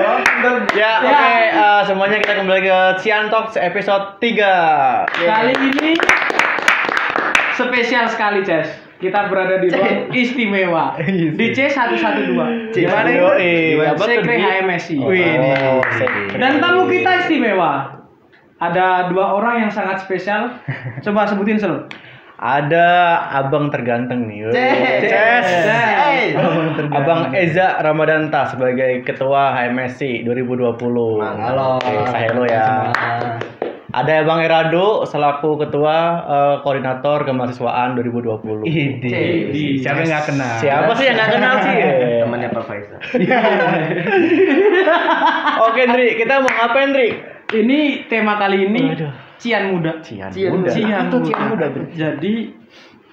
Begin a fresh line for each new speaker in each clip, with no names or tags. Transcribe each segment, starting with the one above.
Ya,
Ya.
oke eh, semuanya kita kembali ke Cian Talks episode 3. eh,
Kali
ya.
ini spesial sekali, Ces. Kita berada di ruang istimewa di C112.
Cik, Iya. mana
Jadi,
itu?
Sekre
Apa tuh, Di?
HMSI.
Wih, ini.
Oh, sekre.
Dan tamu kita istimewa. Ada dua orang yang sangat spesial. Coba sebutin sel.
Ada abang terganteng nih.
Ces.
Ces.
Ces.
Abang Eza Ramadanta sebagai ketua HMSI 2020.
Halo.
Oke, Sahelo ya. Ada Bang Erado selaku ketua eh, koordinator kemahasiswaan 2020.
Idi.
Siapa yang
nggak kenal?
Siapa sih yang nggak kenal sih?
Temannya Pak Faisal.
Oke, Ndri, kita mau ngapain, Ndri?
Ini tema kali ini
Waduh.
Cian Muda.
Cian
Muda. Cian
Apa tuh Cian
Muda.
Muda,
Jadi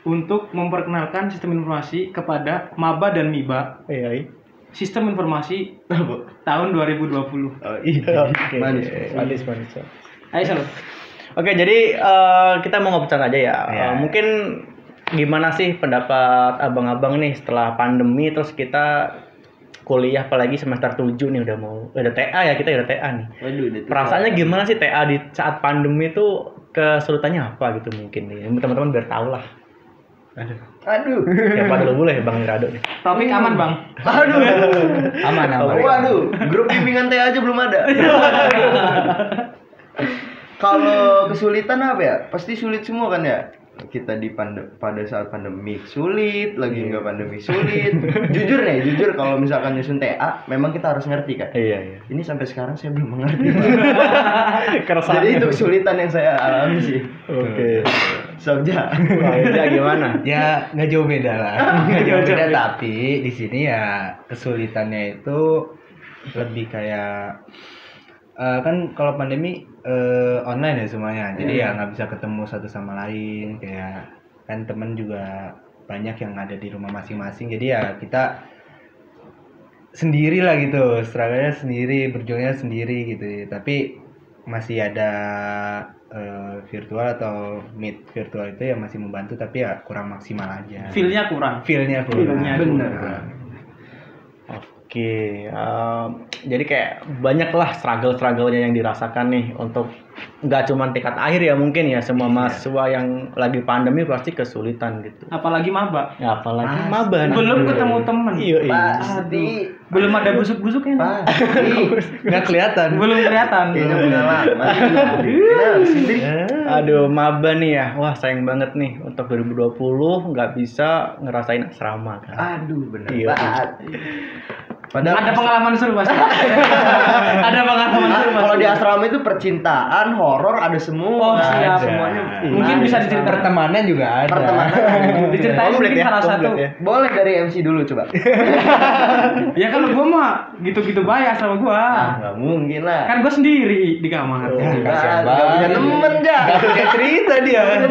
untuk memperkenalkan sistem informasi kepada maba dan miba
Iya, iya.
sistem informasi tahun 2020.
Oh, iya. Oke.
Manis,
manis, manis. ya.
Ayo Sel.
Oke, jadi eh, kita mau ngobrol aja ya.
Iya.
Eh, mungkin gimana sih pendapat abang-abang nih setelah pandemi terus kita kuliah apalagi semester 7 nih udah mau udah TA ya kita udah TA nih.
Waduh, itu.
Perasaannya gitu. gimana sih TA di saat pandemi itu kesulitannya apa gitu mungkin nih. Teman-teman biar tahu lah.
Aduh.
Ya pada lu boleh Bang Rado nih.
Topik aman Bang.
Aduh.
Aman aman.
Waduh, grup bimbingan teh aja belum ada. Kalau kesulitan apa ya? Pasti sulit semua kan ya? Kita di pande- pada saat pandemi sulit, lagi nggak pandemi sulit. jujur nih, jujur kalau misalkan nyusun TA, memang kita harus ngerti kan.
Iya iya.
Ini sampai sekarang saya belum mengerti.
Keresahan.
Jadi itu kesulitan yang saya alami sih.
Oke.
Sobja.
Wah, Eza gimana?
ya nggak jauh beda lah Oh, iya, nggak jauh beda tapi di sini ya kesulitannya itu lebih kayak eh, kan kalau pandemi eh, online ya semuanya jadi ya nggak bisa ketemu satu sama lain kayak kan temen juga banyak yang ada di rumah masing-masing jadi ya kita sendiri lah gitu struggle-nya sendiri berjuangnya sendiri gitu tapi masih ada eh, virtual atau meet virtual itu ya masih membantu tapi ya kurang maksimal aja
Feel-nya kurang.
Feel-nya kurang.
Feel-nya
Bener.
Oke, em, jadi kayak banyaklah struggle-strugglenya yang dirasakan nih untuk nggak cuma tingkat akhir ya mungkin ya semua
Iya.
mahasiswa yang lagi pandemi pasti kesulitan gitu.
Apalagi maba.
Ya, apalagi maba nih.
Belum ketemu temen.
Iya, iya.
Pasti.
Belum ada busuk-busuknya.
Pasti.
Nggak kelihatan.
Belum kelihatan.
iya.
Kayaknya pengalaman. Kenapa sih, Dri?
Eh, Aduh, maba nih ya. Wah, sayang banget nih untuk 2020 nggak bisa ngerasain asrama kan.
Aduh, bener
Iya.
banget. Padahal
Ada pengalaman seru pasti. ada pengalaman seru pasti.
Ah, kalau di asrama itu percintaan, horor
Oh,
ada semua. Nah,
siap
Ada.
semuanya.
Iya.
Mungkin bisa
Ada.
diceritakan.
Pertemanan juga ada.
Nah, Pertemanan.
Diceritain
Komplit
mungkin
ya,
salah
komplit
satu.
ya.
Boleh dari MC dulu coba.
Ya kalau gua mah gitu-gitu bayar sama gua.
Ah, nggak mungkin lah.
Kan gua sendiri di kamar.
Oh.
Ah, Kasihan
Nggak punya
banget.
temen, Ja.
Nggak punya cerita dia.
Ada,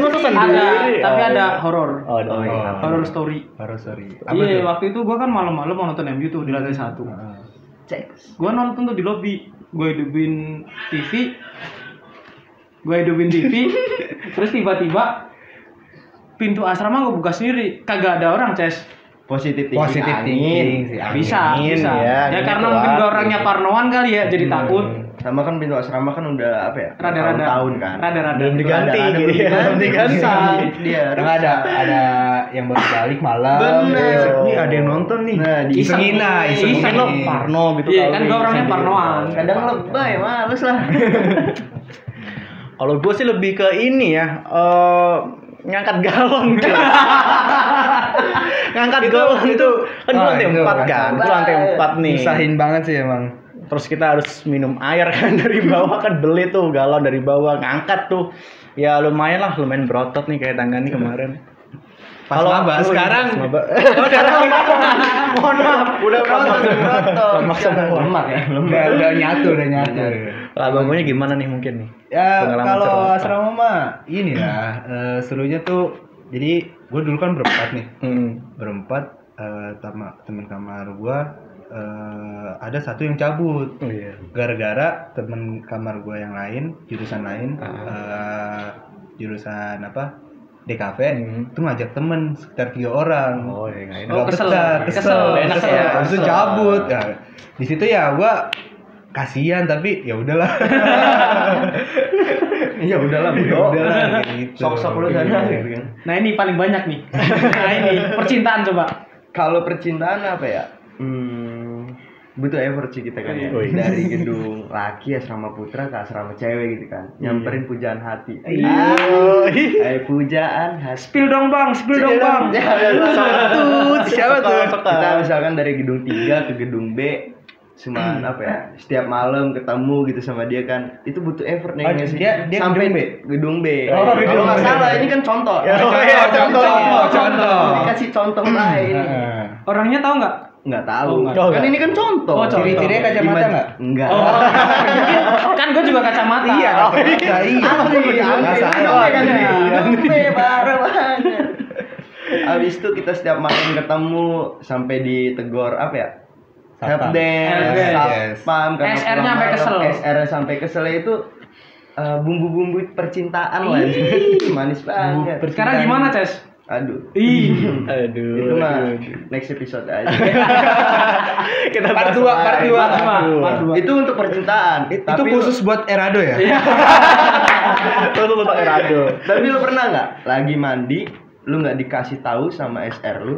tapi
Oh.
ada horor.
Oh, oh, iya.
Oh.
Horor story.
Baru sorry. Apa
Iya,
tuh?
waktu itu gua kan malam-malam mau nonton MU tuh di lantai satu.
Ah.
Cek.
Gua nonton tuh di lobby. Gua hidupin TV. Gua hidupin TV. terus tiba-tiba pintu asrama gua buka sendiri. Kagak ada orang, Ces.
Positif tinggi.
Positif thinking sih. angin.
Bisa,
Angin,
bisa.
ya.
Ya,
Angin
karena
kuat,
mungkin gua
gitu.
orangnya parnoan kali ya, jadi takut.
Sama kan pintu asrama kan udah apa ya?
Rada-rada.
Tahun kan. iya.
Rada-rada.
Belum diganti
Rada-rada,
gitu ya. Belum diganti. Iya.
Rusak Dia.
Karena Iya, ada ada yang baru balik malam. gitu.
Bener.
Besok nih ada yang nonton nih.
Nah, di-
isengin lah,
Iseng.
isengin.
Mungkin lo Parno gitu
Iya,
kali.
kan gua orangnya parnoan.
Kadang lebay, males lah.
Kalau gue sih lebih ke ini ya, eh ngangkat galon. gitu. ngangkat galon itu, kan gue
ah,
lantai
itu
empat
kacau
kan, gue lantai
banget.
empat nih.
Misahin banget sih emang.
Terus kita harus minum air kan dari bawah kan beli tuh galon dari bawah ngangkat tuh. Ya lumayan lah, lumayan berotot nih kayak tangan nih kemarin.
Pas
oh,
maba,
iya,
sekarang-
pas maba. sekarang mohon maaf udah
Rotok, rotok.
lemak semua.
Lemak ya,
Udah, udah nyatu, udah nyatu.
Lah bangunnya gimana nih mungkin nih?
Ya
Pengalaman
kalau
seru apa?
asrama mah ini lah eh, serunya tuh jadi gue dulu kan berempat nih
Hmm.
berempat eh, tama- temen kamar gue eh, ada satu yang cabut
Oh iya.
gara-gara temen kamar gue yang lain jurusan lain
Ah.
eh, jurusan apa DKV
Hmm.
itu ngajak temen sekitar tiga orang
Oh iya. nggak enak.
Oh,
Nggak
kesel. ya.
betah,
Kesel.
kesel,
Enak
kesel,
ya,
Habis itu
kesel.
cabut. Ya, di situ ya gua kasihan tapi ya udahlah
ya udahlah
ya
bodoh
udahlah gitu
sok-sok lu sana gitu kan
Nah ini paling banyak nih. nah ini percintaan coba.
kalau percintaan apa ya hmm, butuh effort sih kita kan ya
Oh,
Iya.
dari gedung laki asrama putra ke asrama cewek gitu kan
Iya.
nyamperin pujaan hati
Iya.
eh pujaan hati
Spill dong bang, spill dong bang.
Iya,
Ya, ya, ya. Siapa tuh? Siapa
Suka,
tuh?
suka.
Kita misalkan dari gedung 3 ke gedung B cuma apa ya setiap malam ketemu gitu sama dia kan itu butuh effort nih
Oh,
nggak sih
dia- dia
sampai
gedung B?
gedung B
Oh,
kalau
gedung
nggak
B.
salah ini kan contoh
Ya,
Ini
oh,
kan
iya, contoh, contoh. Hmm.
dikasih contoh lain
Heeh.
Orangnya tahu nggak?
nggak tahu
Oh,
nggak.
kan ini kan contoh
Oh, contoh. Ciri-cirinya
kacamata
Gimana-
nggak?
nggak
Oh, kan gue juga kacamata.
iya
Oh, iya.
iya iya
Apa sih?
Nggak
Apa
salah.
sih? Kan
Iya.
Gempe bareng aja. Abis itu kita setiap malam ketemu sampai ditegur apa ya?
Satpam.
Helpdesk,
Helpdesk.
satpam, karena
SR-nya
pulang
sampai
malam,
kesel.
SR -nya sampai kesel itu eh, bumbu-bumbu percintaan lah. Manis banget.
Bumbu
Sekarang
percintaan.
gimana Ces?
Aduh.
Ih,
Aduh.
Itu
aduh.
mah next episode aja.
Kita bahas
part dua, part
lain.
dua.
Part
Part dua.
dua.
itu untuk percintaan.
itu khusus buat Erado ya
Iya. Itu untuk Erado.
Tapi lu pernah nggak lagi mandi, lu nggak dikasih tahu sama SR lu,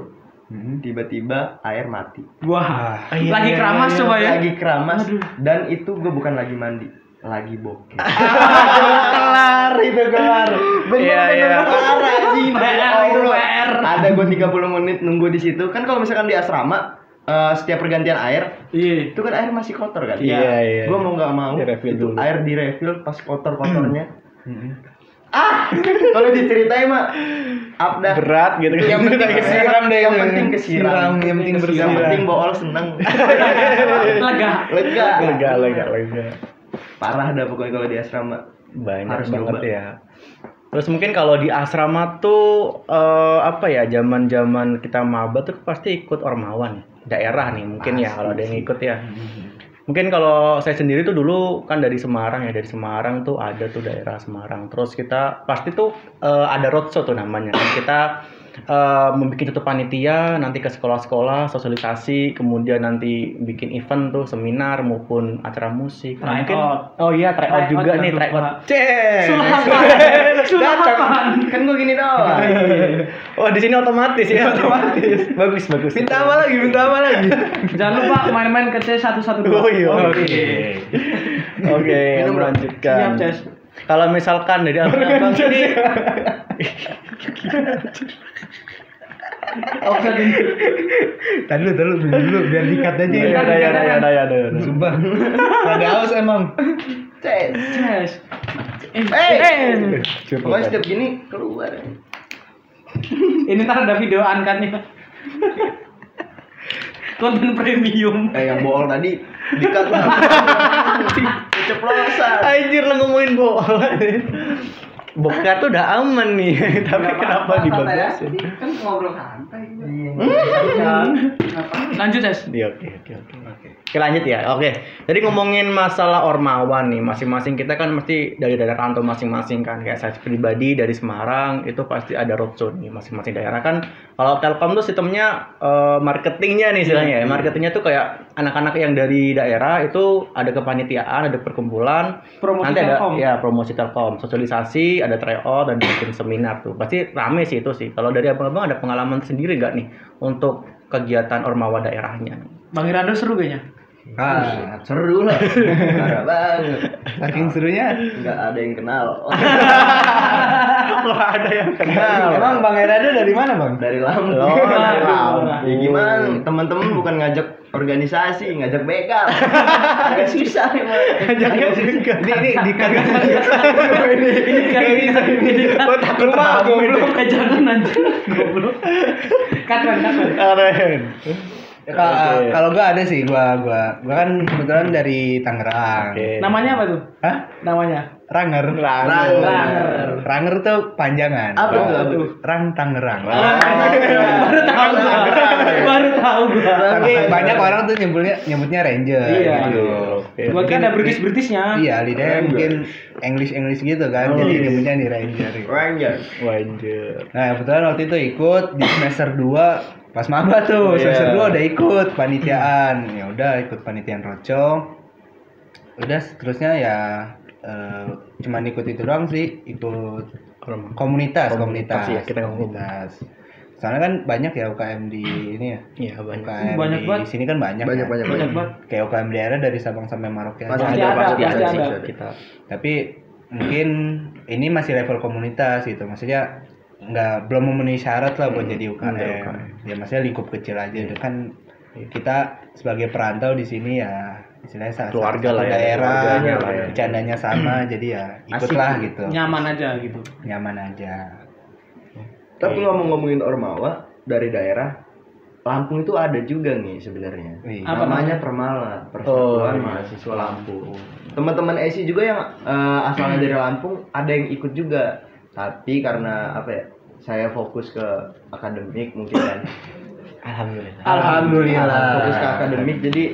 Hmm.
tiba-tiba air mati.
wah.
Ah,
iya,
Lagi
iya,
keramas
iya,
coba ya.
Lagi keramas
Aduh.
dan itu gue bukan lagi mandi, lagi bokeh.
kelar itu kelar. Iya, iya.
parah anjing.
PR,
Ya
itu
Allah.
PR.
Ada gue 30 menit nunggu di situ. Kan kalau misalkan di asrama eh, setiap pergantian air
Iya.
itu kan air masih kotor kan?
Iya, iya.
Gue mau nggak mau
Direfill
itu
dulu.
air di refill pas kotor-kotornya. ah, kalau diceritain mah abdah
Berat gitu kan.
yang penting
Kesiram
kesiram
deh
yang
itu.
penting kesiram
Siram, yang penting
yang
bersiram
penting bool seneng
Lega.
lega
lega lega lega.
parah dah pokoknya kalau di asrama
Banyak
Harus
banget
nyoba.
ya. Terus mungkin kalau di asrama tuh eh, apa ya zaman-zaman kita maba tuh pasti ikut ormawan ya. daerah nih mungkin ya
Pasti Mm-hmm.
kalau ada yang ikut ya. Mungkin kalau saya sendiri tuh dulu kan dari Semarang ya, dari Semarang tuh ada tuh daerah Semarang. Terus kita pasti tuh eh, ada roadshow tuh namanya. Kan kita eh, membuat satu panitia, nanti ke sekolah-sekolah, sosialisasi, kemudian nanti bikin event tuh, seminar maupun acara musik.
Tryout.
Nah, mungkin- Oh iya, tryout
Tryout
juga
dan
nih,
lupa.
tryout. Cek.
Sulapan. Sulapan.
kan gua gini doang
Oh, di sini otomatis ya, otomatis. bagus, bagus.
minta apa lagi minta apa lagi
Jangan lupa main-main ke C112.
Oh iya,
Oke.
oke. Oke,
Minum, bro.
Siap,
melanjutkan.
Ces.
Kalau misalkan dari abang-abang ini
Oke.
Tadi dulu, tadi dulu, dulu, biar dikat aja
Ya, ada,
ya.
ya, ada, ya, ada, ya, ada, ya, ada.
Sumpah. Ada haus emang.
Cek.
Ces. Eh,
Eh.
eh.
Coba,
pokoknya
Bang.
setiap gini keluar
Ini ntar ada video angkatnya. Konten premium.
eh yang bool tadi dikat lah keceplosan
Anjir lah ngomongin bola. Bokar tuh udah aman nih, tapi kenapa dibagusin? Hmm?
kan ngobrol santai
Lanjut, Ces.
Iya, oke, oke, oke. Oke, lanjut ya. Oke. Jadi ngomongin masalah ormawan nih, masing-masing kita kan mesti dari daerah rantau masing-masing kan. Kayak saya pribadi dari Semarang itu pasti ada roadshow nih masing-masing daerah kan. Kalau Telkom tuh sistemnya eh, marketingnya nih istilahnya ya. Marketingnya tuh kayak anak-anak yang dari daerah itu ada kepanitiaan, ada perkumpulan,
Promosi
nanti ada
Telkom.
ya promosi Telkom, sosialisasi, ada tryout dan bikin seminar tuh. Pasti rame sih itu sih. Kalau dari abang-abang ada pengalaman sendiri nggak nih untuk kegiatan ormawa daerahnya? Nah.
Bang Irando seru kayaknya.
Ah,
seru lah parah banget
saking serunya.
nggak ada yang kenal
Wah ada yang
Nah,
Iya.
Kenal.
Emang Bang Erado dari mana, Bang?
dari Lampung.
Oh,
dari Lampung.
Ya gimana? Teman-teman bukan ngajak organisasi, ngajak begal. Agak susah emang.
Jangan juga.
Ini ini di kagak
Ini kan ini kan.
Gua Oh, takut
Rumah
terbangun.
goblok Eh, jangan anjir. Goblok. Katran, katran.
Keren. Ya, Oke.
Ya, kalau gua ada sih gua gua gua kan kebetulan dari Tangerang.
Namanya apa tuh?
Hah?
Namanya.
Ranger.
Ranger.
Ranger.
Ranger tuh panjangan.
Apa
Rang-
tuh, apa tuh?
Rang Tangerang.
Ah.
Ah, Baru tahu gua. Baru tahu gua.
Tapi banyak orang tuh nyebutnya nyebutnya Ranger
Iya.
gitu.
Gua kan ada British-Britisnya.
Iya, lidahnya
Ranger. Oh, iya.
mungkin English-English gitu kan. Jadi nyebutnya di Ranger. gitu.
Ranger.
Wajar.
Nah, kebetulan waktu itu ikut di semester 2 pas maba tuh.
Iya.
Semester 2 udah ikut panitiaan. Ya udah ikut panitiaan roco. udah seterusnya ya eh, cuman ikut itu doang sih ikut komunitas komunitas,
Komunitas, ya, kita ngomong.
komunitas. soalnya kan banyak ya UKM di ini ya
Iya banyak.
UKM
Banyak
di
banget.
sini kan banyak
banyak
kan.
banyak
banyak banget
kayak UKM daerah dari Sabang sampai Merauke
Pasti
aja.
ada, pasti ada.
Kita
tapi mungkin ini masih level komunitas gitu maksudnya nggak belum memenuhi syarat lah buat
Hmm,
jadi UKM.
enggak UKM.
ya maksudnya lingkup kecil aja itu kan
Iya.
kita sebagai perantau di sini ya istilahnya salah
Keluarga
satu
lah ya,
daerah
keluarganya lah ya.
bercandanya sama jadi ya ikutlah gitu
nyaman aja gitu
nyaman aja
Tapi ngomong-ngomongin Ormawa dari daerah Lampung itu ada juga nih sebenarnya.
Wih.
Apa
Namanya Permala, Persatuan
Oh, iya.
Mahasiswa Lampung. Teman-teman SI juga yang eh, asalnya dari Lampung ada yang ikut juga. Tapi karena apa ya? Saya fokus ke akademik mungkin kan. Nah,
Alhamdulillah.
Fokus ke akademik jadi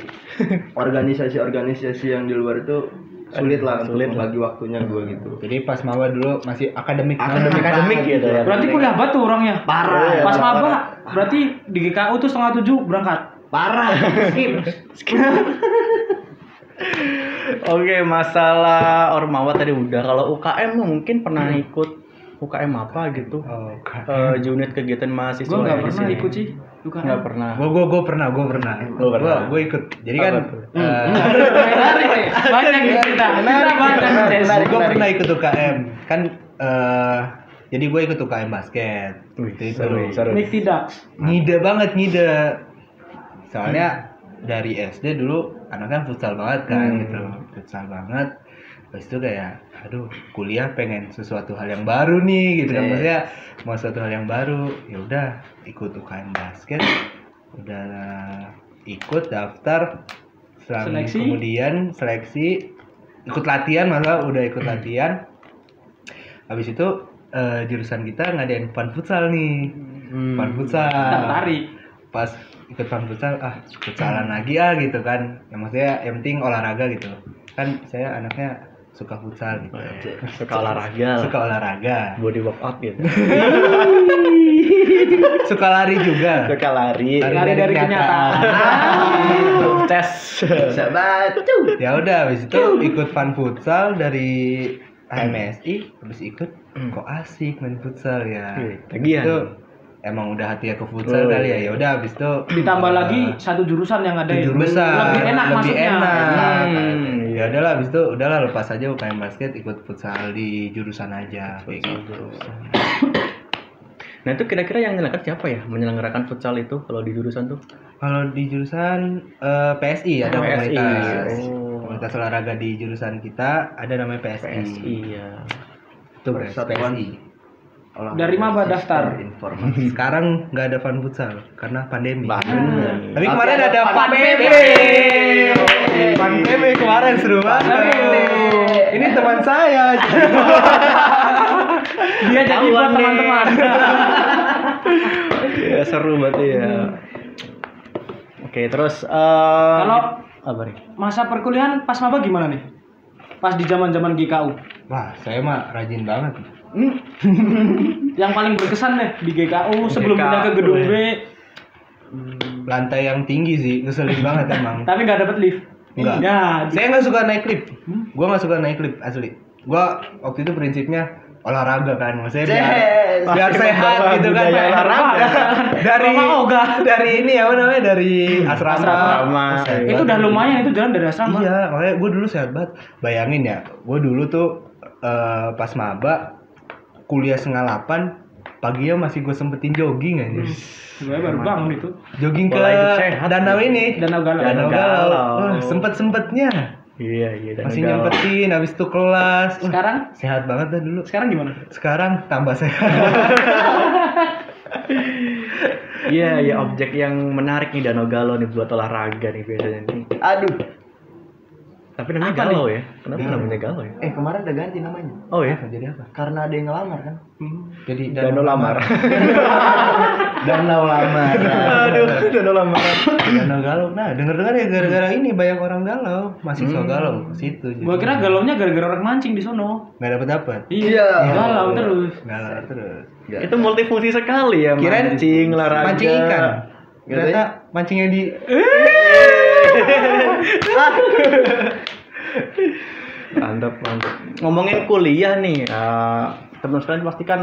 organisasi-organisasi yang di luar itu sulit lah untuk
Sulit lah.
bagi waktunya gue gitu.
jadi pas mawa dulu masih akademik
Akademik.
banget.
Akademik gitu ya.
berarti kuliah batu orangnya
Parah.
pas
Parah.
maba berarti di GKU tuh setengah tujuh berangkat
Parah. Skip.
Oke, masalah Ormawa tadi udah. Kalau UKM mah mungkin pernah ikut UKM apa gitu?
oh,
Eh, unit kegiatan mahasiswa
gue nggak
di
pernah
sini.
ikut sih bukan
Nggak pernah.
gue gue gue pernah gue pernah
Lu
gue
pernah.
gue ikut jadi kan
Apa tuh? Hmm,
eh,
menarik nih banyak nih cerita kita banyak Des.
Menarik, gue pernah ikut UKM kan eh, jadi gue ikut UKM basket
Wih,
Waktu itu.
seru, seru.
Nick Ducks
ngide banget ngide Nah. soalnya dari SD dulu anaknya futsal banget kan
Hmm.
gitu futsal banget Terus itu kayak, aduh, kuliah pengen sesuatu hal yang baru nih, gitu
Yes.
kan maksudnya mau sesuatu hal yang baru. Ya udah, ikut UKM basket, udah ikut daftar, Selang-
Seleksi.
kemudian seleksi, ikut latihan malah udah ikut latihan. Habis itu eh, jurusan kita ngadain pan futsal nih,
Hmm.
pan futsal
tertarik
pas ikut pam futsal ah futsalan lagi ah gitu kan ya maksudnya yang penting olahraga gitu kan saya anaknya suka futsal gitu
Eh, Suka olahraga. lah.
suka olahraga
Body workout gitu.
suka lari juga
Suka lari.
Lari.
lari dari
Dari kenyataan.
kenyataan
Tes.
Bisa batu.
ya udah habis itu ikut pan futsal dari HMSI habis ikut kok asik main futsal ya
Wih, Hmm. Iya, tagihan.
itu emang udah hati aku
Oh,
futsal kali
iya.
ya ya udah habis itu
ditambah
eh,
lagi satu jurusan yang ada
di jurusan
lebih enak
lebih
maksudnya iya.
enak.
Hmm,
ya udahlah habis itu udahlah lepas aja UKM basket ikut futsal di jurusan aja kayak gitu
Nah itu kira-kira yang menyelenggarakan siapa ya? Menyelenggarakan futsal itu kalau di jurusan tuh?
kalau di jurusan eh, PSI ada
PSI.
komunitas
Oh.
komunitas olahraga di jurusan kita ada namanya PSI,
Iya.
itu
Persatuan.
PSI
Dari maba
Sistem
daftar.
Informasi.
sekarang nggak ada fan futsal karena pandemi
Bener.
tapi kemarin
Tapi
ada
ada
fan
Pan
PB fan PB kemarin seru banget ini teman saya
dia jadi
Tahu,
buat
Ande.
teman-teman
Ya, seru banget ya. Oke, terus eh,
Kalau-
apa nih?
masa perkuliahan pas maba gimana nih pas di zaman zaman GKU
wah saya mah rajin banget
yang paling berkesan deh di GKU sebelum
GKU,
pindah ke gedung
ya.
B
lantai yang tinggi sih ngeselin banget emang
tapi nggak dapet lift
Nggak.
ya di-
saya nggak suka naik lift
Hmm?
gue nggak suka naik lift asli gue waktu itu prinsipnya olahraga kan maksudnya biar,
Yes.
biar
Pasti
sehat
membawa
gitu kan
budaya olahraga.
dari
Mama ogah.
dari ini ya apa namanya dari asrama,
Asrama.
Sehat
itu
banget.
udah lumayan itu jalan dari asrama
iya makanya gue dulu sehat banget bayangin ya gue dulu tuh eh, pas maba kuliah setengah delapan paginya masih gue sempetin jogging aja
gue baru bangun itu
jogging ke
Pola hidup sehat.
danau ini
Danau Galau.
Danau
danau
Galau.
sempet sempetnya
Iya, iya. dan
masih
udah-
nyempetin habis itu kelas Wah,
sekarang
sehat banget dah dulu
sekarang gimana
Gitu
sekarang tambah sehat
Iya, iya objek yang menarik nih Danau Galau nih buat olahraga nih biasanya nih.
Aduh.
Tapi namanya
Apa
Galau ya? Kenapa
Galau.
namanya Galau ya?
Eh kemarin udah ganti namanya.
Oh ya,
jadi apa
Karena ada yang ngelamar kan.
jadi
Danau Lamar.
danau lamar
Aduh, Danau Lamar.
danau galau nah denger dengar ya gara-gara ini banyak orang galau masih so galau ke situ jadi.
gue kira galaunya gara-gara orang mancing di sono
nggak dapat dapat
Iya.
galau terus
galau terus
Itu multifungsi sekali ya,
Kirain
mancing, olahraga.
mancing ikan ternyata
Katanya-
mancingnya di
mantap mantap ngomongin kuliah nih eh, teman sekalian pasti kan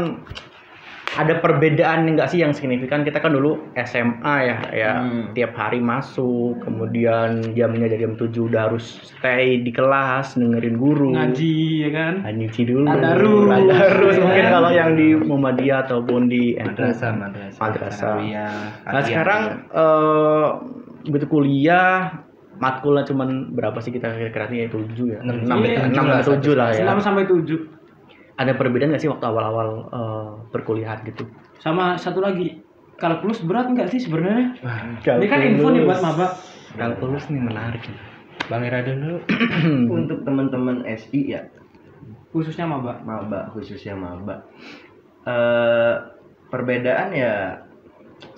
ada perbedaan nggak sih yang signifikan kita kan dulu SMA ya ya
Hmm.
tiap hari masuk kemudian jamnya dari jam 7 udah harus stay di kelas dengerin guru
ngaji ya kan
Nyuci dulu
Tadarus.
Tadarus, mungkin
Ya.
kalau yang di Muhammadiyah ataupun di NU.
madrasah madrasah Iya.
Madrasah.
Sanawiyah,
Nah
Aliyah,
sekarang eh begitu kuliah matkulnya cuman berapa sih kita kira-kira nih ya 7 ya?
Enam,
6
iya,
6
tujuh lah,
atau 7 lah ya.
6 sampai 7
Ada perbedaan nggak sih waktu awal-awal eh, perkuliahan gitu?
sama satu lagi kalkulus berat nggak sih sebenarnya
Wah,
ini kan info nih buat maba
Kalkulus nih menarik. nih.
Bang Ira dulu
untuk teman-teman SI ya
khususnya maba
maba khususnya maba eh perbedaan ya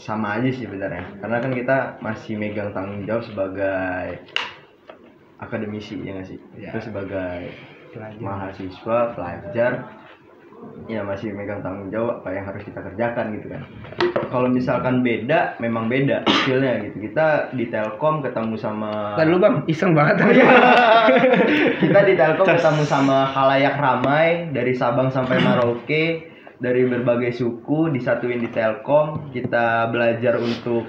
sama aja sih sebenarnya karena kan kita masih megang tanggung jawab sebagai akademisi ya nggak sih
Ya.
Terus sebagai
Pelajar.
mahasiswa pelajar ya masih megang tanggung jawab apa yang harus kita kerjakan gitu kan kalau misalkan beda memang beda skillnya gitu kita di telkom ketemu sama
Ntar dulu bang, iseng banget
Oh, iya.
aja.
kita di Telkom ketemu sama halayak ramai dari Sabang sampai Merauke dari berbagai suku disatuin di Telkom kita belajar untuk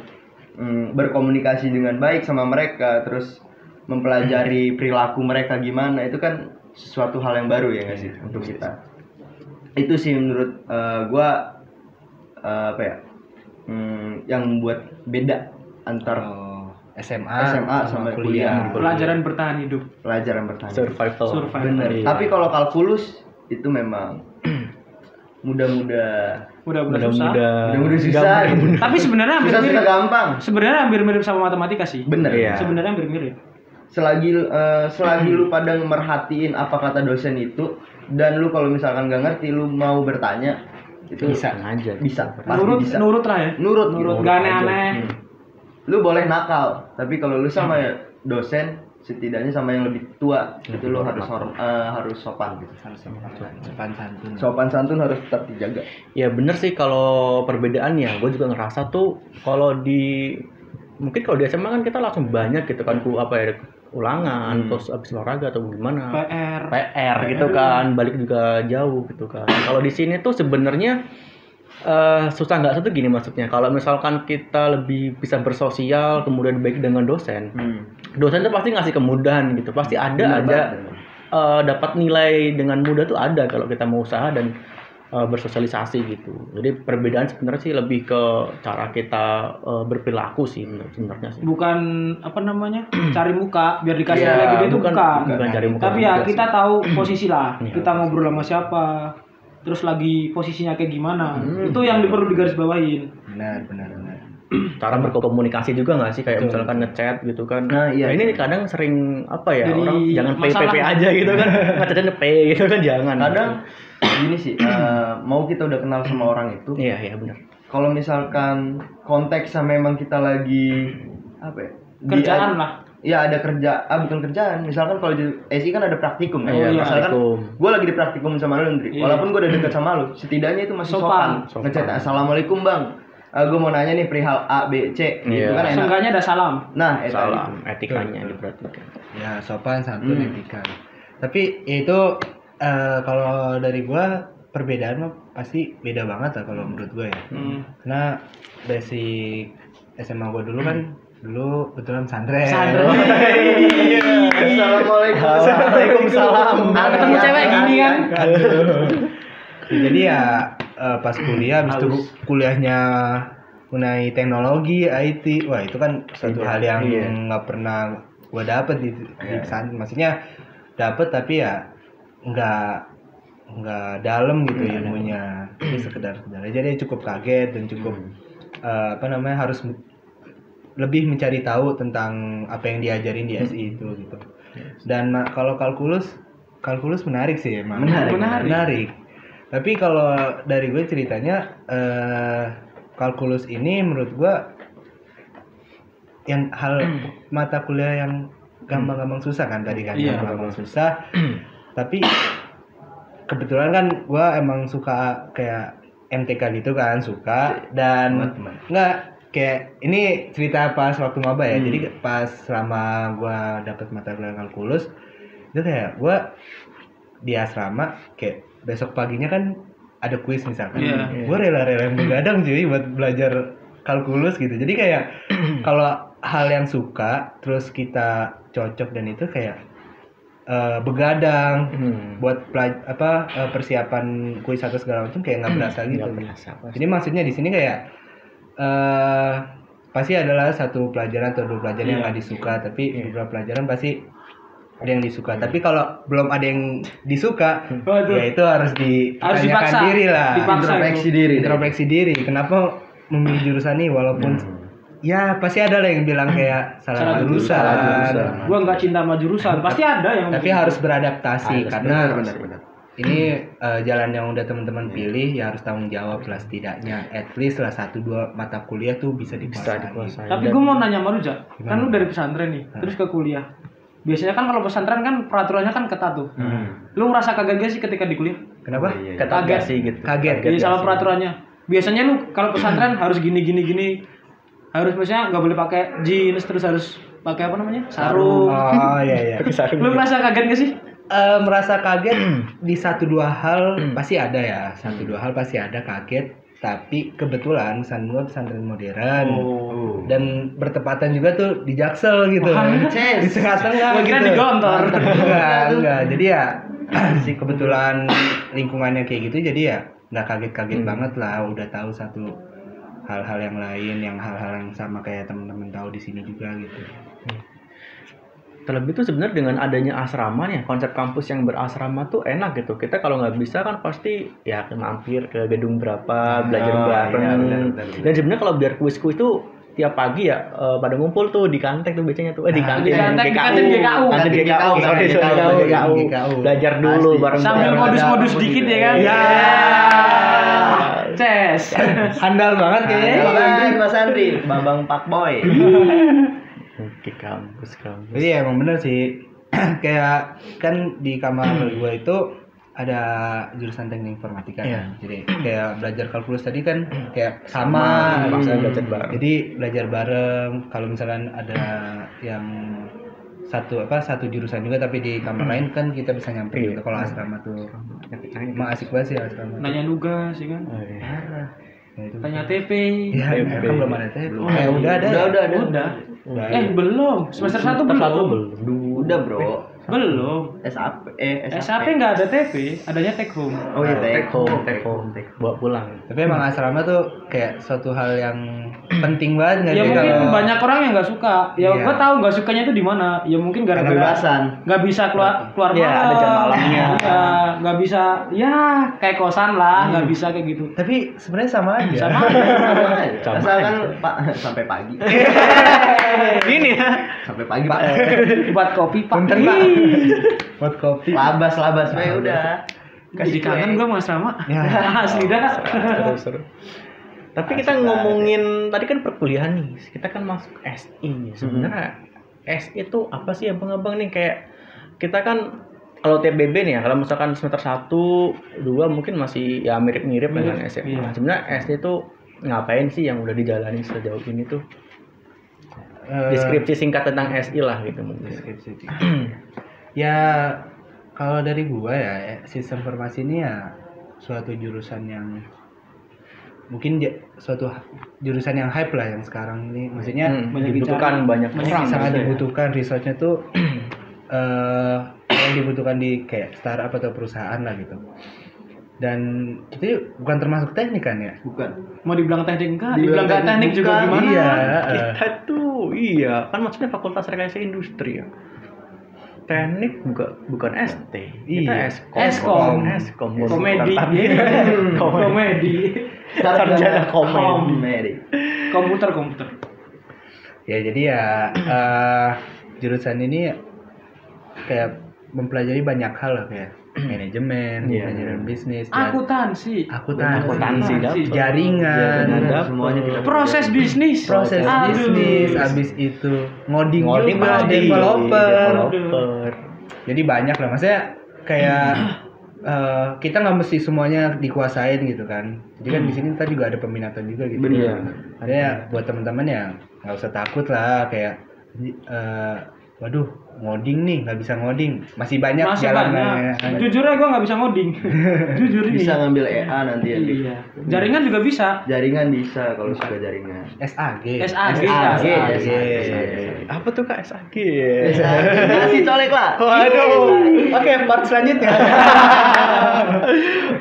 mm, berkomunikasi dengan baik sama mereka terus mempelajari perilaku mereka gimana itu kan sesuatu hal yang baru ya nggak sih untuk kita itu sih menurut eh, gua eh, apa ya mm, yang membuat beda antar
Oh, SMA,
SMA Ah, sama kuliah.
pelajaran bertahan hidup
pelajaran bertanya
Survival.
Survival.
Bener.
Iya.
Tapi kalau kalkulus itu memang mudah-mudah
mudah-mudahan susah
mudah-mudah
mudah-mudah susah. gitu.
tapi sebenarnya hampir
susah susah
mirip
gampang.
sebenarnya hampir mirip sama matematika sih
Bener.
Iya.
sebenarnya hampir mirip
Selagi eh, selagi lu pada merhatiin apa kata dosen itu dan lu kalau misalkan gak ngerti lu mau bertanya itu
bisa aja.
bisa pasti
nurut
bisa.
nurut lah ya
Nurut,
nurut
gitu.
gak aneh-aneh
Lu boleh nakal, tapi kalau lu sama dosen setidaknya sama yang lebih tua itu lu harus hor- eh, harus sopan gitu.
Harus sama Sopan santun.
Sopan santun harus tetap dijaga.
Ya bener sih kalau perbedaannya, gue juga ngerasa tuh kalau di mungkin kalau di SMA kan kita langsung banyak gitu kan ku apa ya ulangan
Hmm.
terus abis olahraga atau gimana
PR
PR gitu kan balik juga jauh gitu kan kalau di sini tuh sebenarnya eh susah nggak satu gini maksudnya kalau misalkan kita lebih bisa bersosial kemudian baik dengan dosen dosen tuh pasti ngasih kemudahan gitu pasti Hmm. ada
Bener
aja
banget.
eh, dapat nilai dengan mudah tuh ada kalau kita mau usaha dan eh, bersosialisasi gitu. Jadi perbedaan sebenarnya sih lebih ke cara kita eh, berperilaku sih bener- sebenarnya sih.
bukan apa namanya cari muka biar dikasih
Iya,
nilai gede itu
bukan,
bukan,
bukan cari muka
tapi ya
juga
kita tahu posisi lah
Iya.
kita ngobrol sama siapa terus lagi posisinya kayak gimana itu yang perlu digarisbawahin
Benar, benar, benar.
sih. cara berkomunikasi juga nggak sih kayak misalkan ngechat gitu kan.
Nah, iya.
ini kadang sering apa ya
Jadi
orang jangan
masalah.
PPP aja gitu kan. Ngechatnya P gitu kan jangan.
kadang gini sih eh, mau kita udah kenal sama orang itu
iya iya benar.
kalau misalkan konteksnya memang kita lagi apa ya di-
kerjaan lah
ya ada kerja ah bukan kerjaan misalkan kalau di SI kan ada praktikum kan?
Iya,
misalkan
praktikum.
gue lagi di praktikum sama lu Ndri
Oh, Iya.
walaupun gue udah deket sama lu setidaknya itu masih
Sopan.
sopan,
Sopan.
ngechat assalamualaikum bang gue mau nanya nih perihal A B C
Iya.
itu kan enak
seenggaknya ada salam
nah itu
Salah etikanya diperhatikan.
Ya, sopan santun
Hmm.
etika. Tapi ya itu eh, kalau dari gua perbedaan mah pasti beda banget lah kalau menurut gua ya.
Hmm.
Karena basic SMA gua dulu kan dulu kebetulan santren.
Pesantren. Iya.
assalamualaikum waalaikumsalam
Ada ketemu cewek gini kan?
Jadi ya eh, pas kuliah habis itu
Halus.
kuliahnya mengenai teknologi IT. Wah, itu kan satu
Beda,
hal yang
iya.
nggak pernah gua dapet di, di
Iya.
pesantren. Maksudnya dapet tapi ya nggak nggak dalam gitu ilmunya. Jadi sekedar-sekedar aja dia cukup kaget dan cukup eh, apa namanya harus m- lebih mencari tahu tentang apa yang diajarin di SI itu gitu. Dan ma- kalau kalkulus kalkulus menarik sih emang.
Menarik.
Menarik. Tapi kalau dari gue ceritanya eh kalkulus ini menurut gue yang hal
Hmm.
mata kuliah yang gampang-gampang susah kan tadi kan
Iya.
gampang-gampang susah. Tapi kebetulan kan gue emang suka kayak MTK gitu kan suka dan
Teman-teman.
nggak kayak ini cerita pas waktu maba ya jadi pas selama gua dapet mata kuliah kalkulus itu kayak gue di asrama kayak besok paginya kan ada kuis misalkan
Iya.
gue rela-rela yang begadang cuy buat belajar kalkulus gitu jadi kayak kalau hal yang suka terus kita cocok dan itu kayak eh, begadang
Hmm.
buat pelaj- apa eh, persiapan kuis atau segala macam kayak nggak
Iya.
berasa gitu
Nggak berasa,
Iya.
pasti.
jadi maksudnya di sini kayak eh pasti adalah satu pelajaran atau dua pelajaran yang
Iya.
nggak disuka, tapi beberapa pelajaran pasti ada yang disuka. Tapi kalau belum ada yang disuka,
Waduh.
ya itu
Harus
harus ditanyakan
dipaksa.
diri lah.
Dipaksa.
introspeksi diri
Introspeksi diri, kenapa memilih jurusan ini walaupun
Hmm.
ya pasti ada lah yang bilang kayak
Salah
salah
jurusan,
jurusan.
salah jurusan.
Gua nggak cinta sama jurusan. Pasti ada yang gitu.
Tapi harus beradaptasi karena
benar benar benar
ini eh, jalan yang udah
Iya.
teman-teman pilih ya harus tanggung jawab lah setidaknya at least lah satu dua mata kuliah tuh bisa
bisa
dikuasai.
dikuasai.
Tapi
Dan-
gue mau nanya sama lu, Jak. Kan
Gimana?
lu dari pesantren nih, terus ke kuliah. Biasanya kan kalau pesantren kan peraturannya kan ketat tuh. Lu merasa kaget gak sih ketika di kuliah?
Kenapa?
Oh, Hmm. iya, iya.
ketat
Kaget.
gak sih gitu.
Kaget.
Jadi
gak
salah
sih?
peraturannya. Biasanya lu kalau pesantren harus gini gini gini. Harus misalnya nggak boleh pakai jeans terus harus pakai apa namanya? Sarung.
Oh iya iya.
Pakai sarung.
Lu merasa kaget gak sih?
Eh, merasa kaget di satu dua
Hmm.
hal pasti ada ya. Satu dua hal pasti ada kaget. Tapi kebetulan pesan gua pesantren modern
Oh.
dan bertepatan juga tuh di Jaksel gitu.
Wah,
di tengah-tengah.
Gua kira di Gontor.
enggak, enggak. Jadi ya si kebetulan lingkungannya kayak gitu jadi ya nggak kaget-kaget banget lah udah tahu satu hal-hal yang lain yang hal-hal yang sama kayak temen-temen tahu di sini juga gitu.
Terlebih tuh sebenarnya dengan adanya asrama nih, konsep kampus yang berasrama tuh enak gitu. Kita kalau nggak bisa kan pasti ya ke- mampir ke gedung berapa, belajar
iya,
bareng.
benar, benar, benar.
Dan sebenarnya kalau biar kuis-kuis tuh tiap pagi ya eh, pada ngumpul tuh di kantek tuh biasanya tuh eh di
Ah,
kantin
di kantek, di
GKU.
kantin GKU.
Kantin
Kantin
GKU,
GKU,
sorry, sorry,
GKU,
kantin GKU.
GKU.
belajar dulu
Pasti.
bareng
Sambil modus-modus dikit ya kan?
Iya.
Ces.
Handal
Ah,
banget kayaknya.
Mas Andri, Mas Andri, Bambang Pak Boy.
ke kampus kampus
Jadi ya emang bener sih. kayak kan di kamar gua itu ada jurusan teknik informatika.
Iya.
kan. Jadi kayak belajar kalkulus tadi kan kayak sama.
Paksa
Hmm.
belajar bareng.
Jadi belajar bareng. Kalau misalkan ada yang satu apa satu jurusan juga tapi di kamar lain kan kita bisa nyampe
Iya.
gitu kalau asrama tuh emang asik banget sih asrama tuh.
Nanya nugas ya kan?
Oh, iya.
Parah. Ya, itu.
Tanya TP.
ya,
TP.
kan belum ada teh
Belum.
eh udah ada
Udah,
ya?
udah, ada.
Udah.
Udah ada.
Eh, belum. Semester 1
Semester satu
belum.
belum.
Udah, Bro.
Belum.
SAP eh
SAP nggak ada TP, adanya take home.
Oh iya,
take home,
take home.
take home. bawa pulang.
tapi emang asrama tuh kayak suatu hal yang penting banget nggak
Ya
sih
mungkin
kalau-
banyak orang yang nggak suka. Ya
Iya.
gua tahu nggak sukanya itu di mana. Ya mungkin gara-gara
Kebebasan.
nggak bisa keluar keluar
Iya, ada jam malamnya.
Iya, nggak bisa. Ya kayak kosan lah, nggak bisa kayak gitu.
tapi sebenarnya sama aja
Iya.
Sama.
Sama.
Asalkan Pak sampai pagi.
Gini ya.
Sampai pagi, Pak.
Buat kopi pak.
Iya.
Punten, Pak. buat kopi
Labas, labas, Pak. Ya Udah.
Kasih
kue.
kangen gua mas sama.
Ya.
Asli dah.
seru seru tapi kita
Asik
ngomongin tadi kan perkuliahan nih kita kan masuk SI nih. sebenarnya SI itu apa sih abang-abang nih kayak kita kan kalau TBB nih ya kalau misalkan semester 1 2 mungkin masih ya mirip-mirip dengan
Mirip,
SI
iya.
nah, sebenarnya SI itu ngapain sih yang udah dijalani sejauh ini tuh
Eh,
deskripsi singkat tentang SI lah gitu mungkin
deskripsi ya kalau dari gua ya eh, sistem informasi ini ya suatu jurusan yang mungkin ja- suatu ha- jurusan yang hype lah yang sekarang ini maksudnya
Hmm,
banyak
dibutuhkan
bicara,
banyak
banyak
orang
sangat
maksudnya. ya?
dibutuhkan researchnya tuh eh yang dibutuhkan di kayak startup atau perusahaan lah gitu dan itu bukan termasuk teknik kan ya
Bukan.
Mau dibilang teknik enggak? Dibilang
Dibilang
nggak
teknik
teknik juga
bukan.
gimana?
iya eh,
Kita tuh iya kan maksudnya fakultas rekayasa industri ya. Teknik buka, bukan ST, kita
Iya.
Eskom.
Eskom.
Eskom.
Komedi. Iya.
Iya. Komedi.
Komedi.
Sarjana komedi.
Komedi.
Komputer komputer.
ya jadi ya eh, jurusan ini kayak mempelajari banyak hal lah kayak manajemen,
Iya.
manajemen bisnis, jar-
Akuntansi.
Iya. akuntansi, Iya,
Akuntansi, dapet.
jaringan,
Jaringan, dapet.
Semuanya kita
Proses
Iya.
bisnis.
proses
Aduh.
bisnis, abis itu ngoding,
Ngoding
juga,
pasti.
developer,
Developer.
jadi banyak lah maksudnya kayak
Hmm.
eh, kita nggak mesti semuanya dikuasain gitu kan jadi
Hmm.
kan di sini tadi juga ada peminatan juga gitu
Bener.
ada ya buat teman-teman ya nggak usah takut lah kayak eh, waduh ngoding nih nggak bisa ngoding masih banyak Kan?
Masih
jalanannya.
banyak. Jujurnya gue nggak bisa ngoding. Jujur ini.
Bisa ngambil EA nanti ya. Dik.
Iya. Jaringan juga bisa.
Jaringan bisa kalau suka jaringan. Ah, iya,
SAG
SAG.
SAG
SAG. iya.
Apa tuh Kak SAG?
Kasih colek lah.
Iya.
Waduh. Oke, part selanjutnya.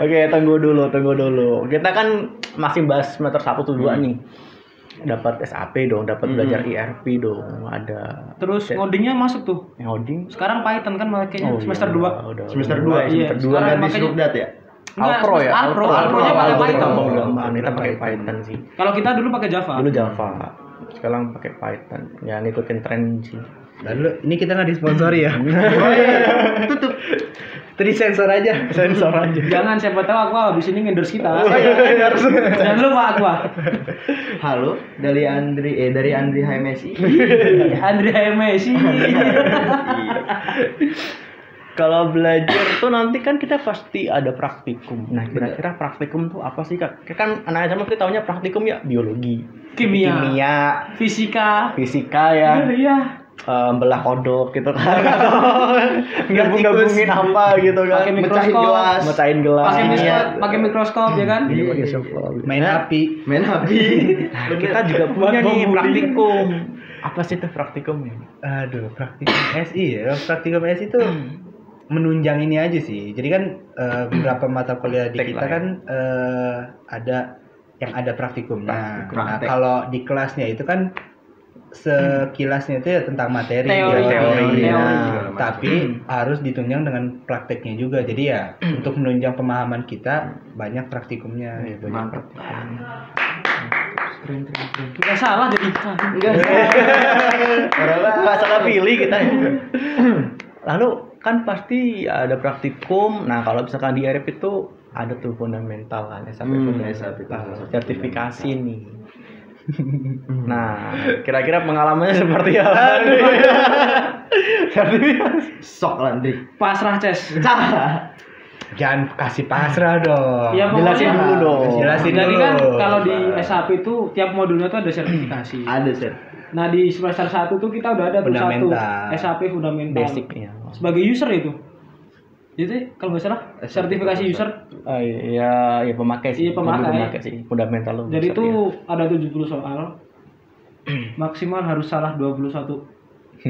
Oke, tunggu dulu, tunggu dulu. Kita kan masih bahas semester 1 tuh 2 nih. Dapat SAP dong, dapat belajar IRP dong, ada
Terus
Set.
ngodingnya masuk tuh.
ngoding.
Sekarang Python kan makanya
iya,
semester
udah,
2.
udah,
Semester
udah
dua,
mulai,
iya.
semester 2.
Dua
Sekarang
ganti
makanya-
Subdat ya?
Alpro ya,
Alpro.
Alpro,
Alpronya pakai
Alpro,
Python.
Alpro, gampang. Kita pakai Python sih.
Kalau kita dulu pakai Java.
Dulu Java, sekarang pakai Python. Ya ngikutin tren sih.
lalu ini kita nggak disponsori ya
Tutup.
tadi sensor aja
Sensor aja.
Jangan siapa tahu aku habis ini endorse kita.
Oh,
iya,
iya,
Jangan lupa aku. ah.
Halo, dari Andri eh dari Andri HMSI.
Andrea Messi.
Kalau belajar tuh nanti kan kita pasti ada praktikum. Nah, kira-kira praktikum tuh apa sih kak? Kayak Kan anak SMA kita taunya praktikum ya biologi,
Kimia.
kimia,
Fisika.
fisika ya,
Iya.
eh, belah kodok gitu kan, gabung gabungin
Iya,
apa gitu kan,
Pakai
Mecahin
mikroskop.
gelas.
mecahin gelas,
Pakai
Iya.
mikroskop, pakai mikroskop ya kan?
Iya, pakai
Iya.
softball.
main api
Main Iya, api.
Nah, kita juga
Buat
punya
bom
nih
budi.
praktikum. Apa sih ya? tuh praktikumnya?
aduh praktikum SI ya praktikum SI itu menunjang ini aja sih jadi kan eh, beberapa mata kuliah di
Praktek
kita
lah ya.
kan eh, ada yang ada praktikumnya
Praktikum.
nah
Praktek.
kalau di kelasnya itu kan sekilasnya itu ya tentang materi
Teori.
teori.
Teori.
Nah, tapi harus ditunjang dengan prakteknya juga jadi ya untuk menunjang pemahaman kita banyak praktikumnya
Iya,
gitu.
banyak
Mantap.
praktikum.
Enggak salah jadi. Ah,
Enggak.
nggak salah pilih kita lalu kan pasti ada praktikum nah kalau misalkan di RF itu ada tuh fundamental kan SAP
Hmm,
fundamental. Nah,
SAP itu salah satu
sertifikasi nih nah kira-kira pengalamannya seperti apa nih? sertifikasi
Sok lah Andri.
Pasrah Ces.
jangan kasih pasrah dong
Iya, pokoknya-
jelasin dulu dong
Ya, jelasin
Jadi
dulu
kan kalau di SAP itu tiap modulnya tuh ada sertifikasi.
Ada set.
Nah di semester 1 tuh kita udah ada tuh satu
Fundamental.
SAP fundamental.
basicnya
Sebagai user itu. Jadi kalau nggak salah sertifikasi user.
Eh, iya ya pemakai sih
Iya, pemakai.
Lebih sih fundamental lu
Jadi
besar,
itu
ya.
ada 70 soal. Maksimal harus salah 21.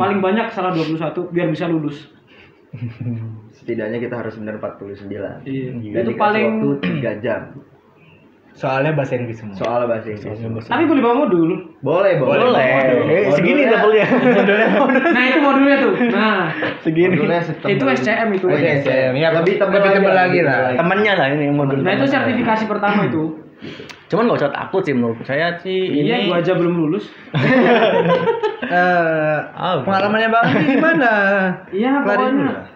Paling banyak salah 21 biar bisa lulus.
Setidaknya kita harus benar 49.
Iya.
Dan
Itu
dikasih
paling
waktu 3 jam.
soalnya bahasa Inggris semua
Hmm. Soal bahasa Inggris.
Soalnya besar.
tapi boleh bawa modul.
Boleh, boleh.
boleh Eh, segini double-nya
Nah, itu modulnya tuh. Nah,
segini
Iya,
itu SCM itu.
Oke, SCM.
Ya,
Lebih tebal
lebih tebal
aja,
lagi
lebih
lah.
tebal lagi.
temennya lah ini yang modul
Nah, itu
temennya.
sertifikasi pertama itu.
Cuman gak usah takut sih menurut saya sih ini
Iya, gua aja belum lulus.
Eh,
Ah,
pengalamannya bang ini gimana?
Iya,
Kelarin
pokoknya
dulu lah.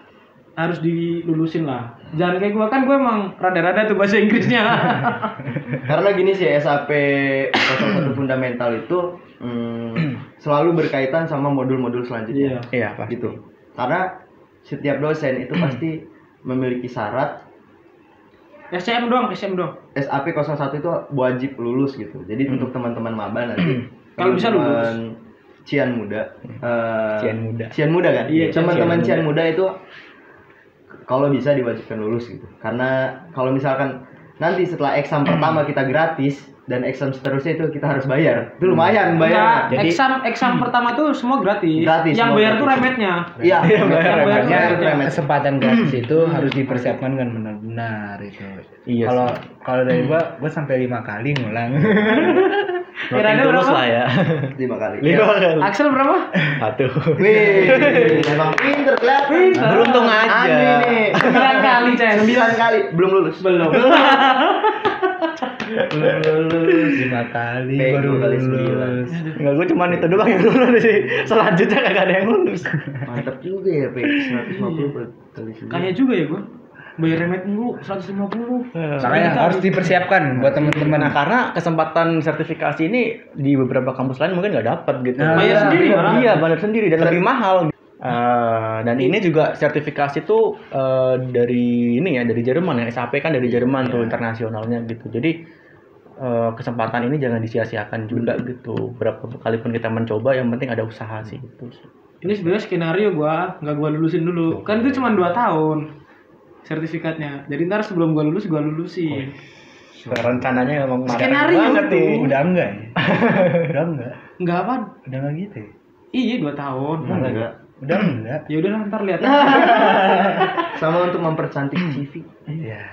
harus dilulusin lah. Jangan kayak gua kan gua emang rada-rada tuh bahasa Inggrisnya.
Karena gini sih SAP 01 fundamental itu mm, selalu berkaitan sama modul-modul
Iya.
selanjutnya.
Iya pak.
Gitu. Karena setiap dosen itu pasti memiliki syarat
SCM doang, SCM doang.
SAP 01 itu wajib lulus gitu. Jadi untuk teman-teman maba nanti
Kalau bisa
teman-teman
lulus.
Cian muda. eh,
Cian muda.
Cian muda kan?
Iya,
Teman-teman
Cian
Cian muda itu kalau bisa diwajibkan lulus gitu. Karena kalau misalkan nanti setelah exam pertama kita gratis dan exam seterusnya itu kita harus bayar. Itu lumayan
Bayar.
bayar.
Jadi-
exam exam pertama tuh semua gratis.
Gratis,
Yang
semua
bayar
gratis.
tuh remetnya.
Iya,
Bayar,
bayar,
bayar, bayar.
Ya, Kesempatan
Hmm.
gratis itu harus dipersiapkan dengan benar-benar itu.
Iya
Kalau kalau dari gua, gua sampai lima kali ngulang.
Noting
Kiranya
tulus
berapa?
lah ya.
Lima kali. Iya.
Lima kali.
Axel berapa?
Satu.
Wih, emang pinter kelihatan.
Pinter.
Beruntung aja.
Ani nih.
9 kali, Cen.
Sembilan kali belum lulus.
Belum.
Belum lulus lima kali
Bego
baru
kali sembilan.
lulus.
Enggak, gue cuman itu doang yang lulus sih. Selanjutnya kagak ada yang lulus.
Mantap juga ya, P. 150 per kali sembilan.
Kayaknya juga ya gua. Bayar remet mulu 150.
Iya. Makanya harus dipersiapkan buat
Nah,
teman-teman.
karena kesempatan sertifikasi ini di beberapa kampus lain mungkin nggak dapat gitu.
Nah,
Bayar
iya,
sendiri malah.
Iya, bayar sendiri dan lebih mahal. Eh, dan ini juga sertifikasi tuh eh, dari ini ya dari Jerman ya SAP kan dari Jerman
Iya.
tuh internasionalnya gitu. Jadi eh, kesempatan
Hmm.
ini jangan disia-siakan juga gitu. Berapa kali pun kita mencoba yang penting ada usaha sih gitu.
Ini sebenarnya skenario gua, nggak gua lulusin dulu. Kan itu cuma 2 tahun sertifikatnya. Jadi ntar sebelum gua lulus gua lulusin.
Nah,
rencananya emang matang
Skenario
banget
tuh.
nih.
Udah enggak ya? Udah enggak?
Enggak apa?
Udah enggak gitu ya?
Iya, 2 tahun.
Enggak.
Udah enggak?
Ya udah ntar lihat.
Sama untuk mempercantik CV.
Iya.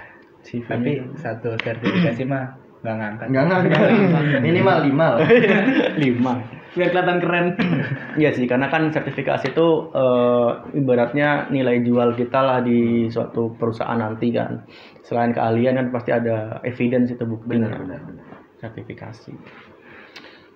Tapi satu sertifikasi mah nggak ngangkat.
Enggak enggak enggak. Minimal lima lah.
lima
Biar kelihatan keren.
Iya sih, karena kan sertifikasi itu eh, ibaratnya nilai jual kita lah di suatu perusahaan nanti kan. Selain keahlian kan pasti ada evidence itu buktinya. Sertifikasi.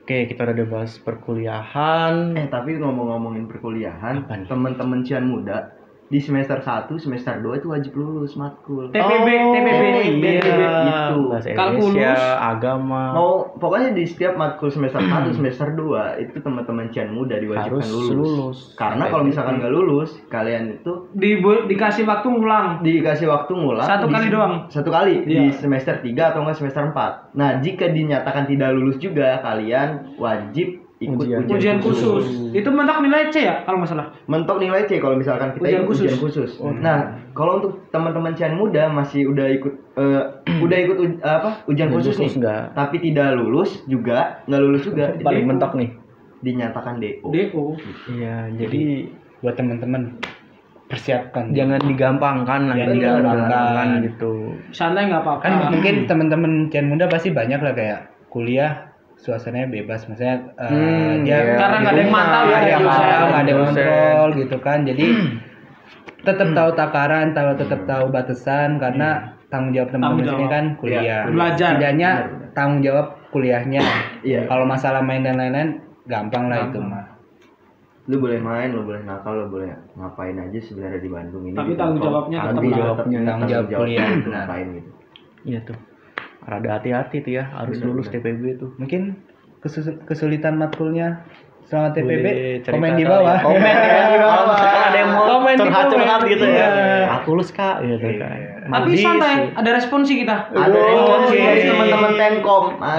Oke, kita udah bahas perkuliahan.
Eh tapi ngomong-ngomongin perkuliahan,
Apa nih?
teman-teman Cian muda di semester 1, semester 2 itu wajib lulus matkul.
TPB, TPB.
iya.
TPB.
Itu.
Bahasa
Kalkulus.
Indonesia, agama.
Mau pokoknya di setiap matkul semester 1, semester 2 itu teman-teman Cian muda diwajibkan
Harus
lulus.
lulus.
Karena kalau misalkan nggak lulus, kalian itu
Di, dikasih waktu ngulang.
dikasih waktu ngulang
Satu
di-
kali doang?
Satu kali di
Iya.
semester 3 atau enggak semester 4. Nah, jika dinyatakan tidak lulus juga, kalian wajib ikut
Ujian.
ujian,
ujian khusus. Itu mentok nilai C ya kalau nggak salah.
mentok nilai C kalau misalkan kita
Ujian
ikut
khusus.
ujian khusus.
Oh.
Nah, kalau untuk teman-teman Cian muda masih udah ikut eh, udah ikut uj- apa? Ujian
Ujian
khusus,
khusus
nih.
nggak.
Tapi tidak lulus juga, nggak lulus juga. itu
Paling mentok nih.
dinyatakan DO.
DO.
Iya, jadi
Buat teman-teman persiapkan.
jangan digampangkan lah,
Jangan
jangan digampangkan
digampangkan.
gitu.
Santai nggak apa-apa.
kan
Ah.
mungkin teman-teman Cian muda pasti banyak lah kayak kuliah suasananya bebas maksudnya eh,
Hmm,
dia
iya.
Karena nggak ada yang
di rumah,
mantau ya,
nggak ada yang
dosen.
mantau Iya, nggak ada yang
Dosen.
kontrol gitu kan jadi tetap tahu takaran tahu tetap tahu batasan karena tanggung jawab teman-teman
Tanggung
ini
jawab.
kan kuliah
Iya, belajar.
setidaknya
Benar.
tanggung jawab kuliahnya
Iya.
kalau masalah main dan lain-lain gampang lah itu
Gampang.
mah
Lu boleh main, lu boleh nakal, lu boleh ngapain aja sebenarnya di Bandung ini.
Tapi
Gitu.
tanggung
Kalau-
jawabnya tetap
tanggung
ada.
jawabnya
Tanggung jawab kuliah.
itu
Benar.
ngapain gitu.
Iya tuh. Rada hati-hati tuh ya, harus lulus TPB tuh.
mungkin kesus- kesulitan matkulnya selama TPB
Boleh cerita
komen di
kali.
bawah
Komen ya di bawah. Kalau misalkan ada yang mau
Komen Oh, di
curhat-curhat
komen.
gitu
Iya.
ya. Aku lulus Kak gitu
Iya.
kan.
Tapi
Mandi sih.
santai, ada respon sih kita.
Ada
Oh, oke.
responsi dari teman-teman Tenkom. Ah, ah,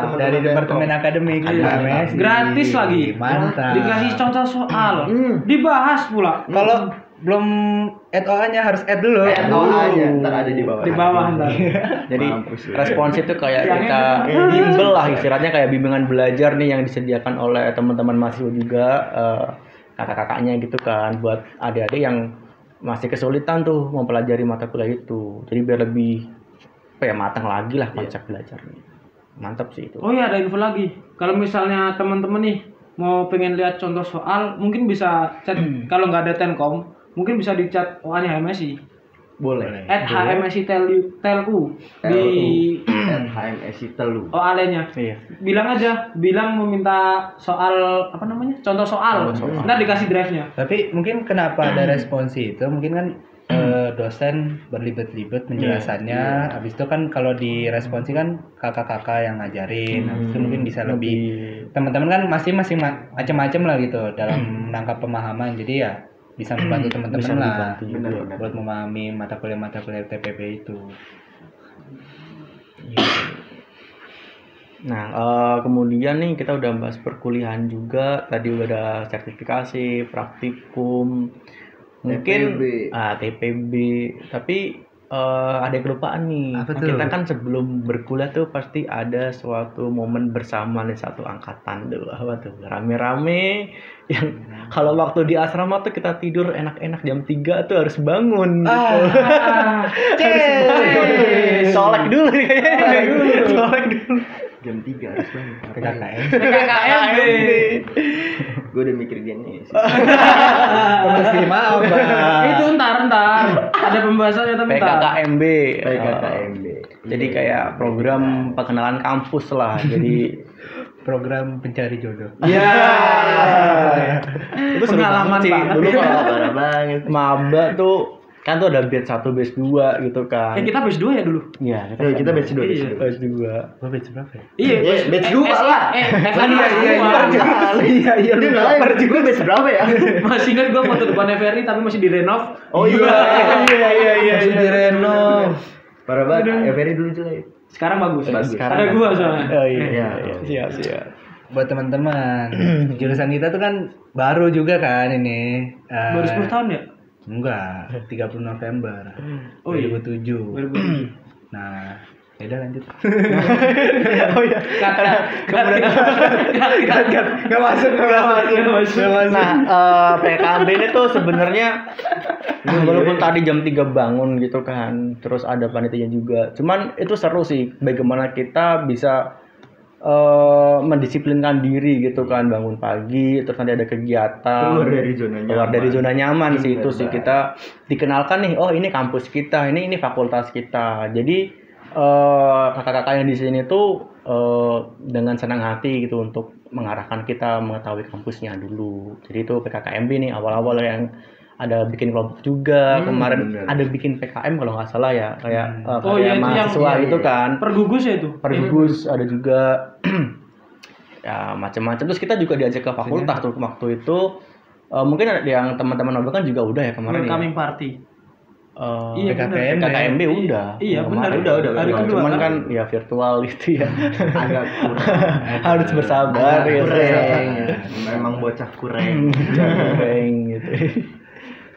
teman-teman
dari
Tenkom.
departemen akademik
Iya.
AMS.
Gratis lagi.
mantap
Dikasih contoh soal,
Hmm.
dibahas pula.
kalau belum add OA-nya harus add dulu
Iya,
Eh, tahu aja, ntar ada di bawah.
Di bawah ntar.
Jadi
Mampus lu.
respons itu kayak
Yang
kita
enak.
bimbel lah istilahnya kayak bimbingan belajar nih yang disediakan oleh teman-teman mahasiswa juga eh, kakak-kakaknya gitu kan buat adik-adik yang masih kesulitan tuh mempelajari mata kuliah itu. Jadi biar lebih apa ya matang lagi lah
Iya.
konsep belajarnya. Mantap sih itu.
Oh iya ada info lagi. Kalau misalnya teman-teman nih mau pengen lihat contoh soal, mungkin bisa chat kalau nggak ada Tenkom, mungkin bisa di chat OA-nya HMSI.
Boleh.
At HMSI Telu, Telu di
At HMSI Telu.
OA-nya.
Iya.
Bilang aja, bilang meminta soal apa namanya? Contoh soal. Ntar dikasih drive-nya.
tapi mungkin kenapa ada responsi itu mungkin kan eh, dosen berlibet-libet menjelasannya habis itu kan kalau diresponsi kan kakak-kakak yang ngajarin habis
Hmm,
itu mungkin bisa lebih teman-teman kan masih masih ma- macam-macam lah gitu dalam menangkap pemahaman jadi ya bisa membantu
bisa
teman-teman lah gitu
dibantu juga.
Benar-benar.
buat memahami mata kuliah mata kuliah TPP itu
Nah, eh, kemudian nih kita udah bahas perkuliahan juga. Tadi udah ada sertifikasi, praktikum, mungkin
TPB.
ah, TPB. Tapi eh, ada yang kelupaan nih.
Apa
Nah,
tuh?
Kita kan sebelum berkuliah tuh pasti ada suatu momen bersama nih satu angkatan dulu. Apa tuh? Rame-rame yang
Hmm.
kalau waktu di asrama tuh kita tidur enak-enak jam 3 tuh harus bangun gitu.
Ah,
harus bangun. Solek dulu nih kayaknya. Solek dulu.
Jam 3 harus bangun. Ngapain?
PKKM
PKKMB.
Gue udah mikir gini sih.
Terima apa?
Itu ntar ntar ada pembahasannya tapi ntar.
PKKMB.
PKKMB.
Eh, Jadi
Iya,
kayak program perkenalan kampus lah. Jadi
Program pencari jodoh.
ya itu seru
Pengalaman
banget sih.
banget.
Dulu kalau
parah banget.
maba tuh kan tuh ada batch 1, batch 2 gitu kan.
Eh kita batch 2 ya dulu.
Iya,
Yo, kita batch 2
Iya.
batch 2.
Gue batch berapa ya?
Iya,
Iya, batch dua
eh,
lah.
Eh, eh, kan batch dua.
Iya, iya
Dia
lupa.
nggak lain. Gue batch berapa ya?
Masih ingat gua foto depan FRI tapi masih direnov.
Oh iya.
Iya, iya, iya.
Masih di renov.
Parah banget. Ya Ferry dulu jelek.
Sekarang bagus.
Bagus.
Ada gua soalnya.
Oh iya,
Iya.
iya. Siap, siap.
buat teman-teman jurusan kita tuh kan baru juga kan ini Eh,
Baru 10 tahun ya?
enggak 30 November
Oh iya.
2007
2007.
nah ya udah lanjut
oh iya karena kemudian nggak nggak masuk nggak masuk
Nggak masuk.
Nggak masuk. nah eh, PKB ini tuh sebenarnya Nah,
Iya,
walaupun tadi jam 3 bangun gitu kan terus ada panitia juga cuman itu seru sih bagaimana kita bisa eh, mendisiplinkan diri gitu kan bangun pagi terus nanti ada kegiatan
Keluar dari zona
keluar
nyaman. Iya,
dari zona nyaman sih itu sih
Benar.
kita dikenalkan nih oh ini kampus kita ini ini fakultas kita jadi eh, kakak-kakak yang di sini tuh eh, dengan senang hati gitu untuk mengarahkan kita mengetahui kampusnya dulu jadi itu PKKMB nih awal-awal yang ada bikin kelompok juga
Hmm,
kemarin
benar.
ada bikin PKM kalau nggak salah ya kayak eh,
Oh, iya, itu
karya
yang-
mahasiswa
iya,
gitu
iya.
kan
Pergugus ya itu?
pergus ada juga ya macam-macam terus kita juga diajak ke fakultas tuh waktu itu Eh, mungkin ada yang teman-teman Nobel kan juga udah ya kemarin ya?
Welcoming party.
Eh,
Iya,
PKKM,
benar.
KKMB
Iya,
ya
Iya,
udah Yang
benar.
kemarin.
Udah, udah,
Hari
udah.
kedua
cuman
kan.
kan ya virtual gitu ya
agak kurang
harus bersabar
agak
ya
kurang. memang bocah kurang
Hmm. Kurang gitu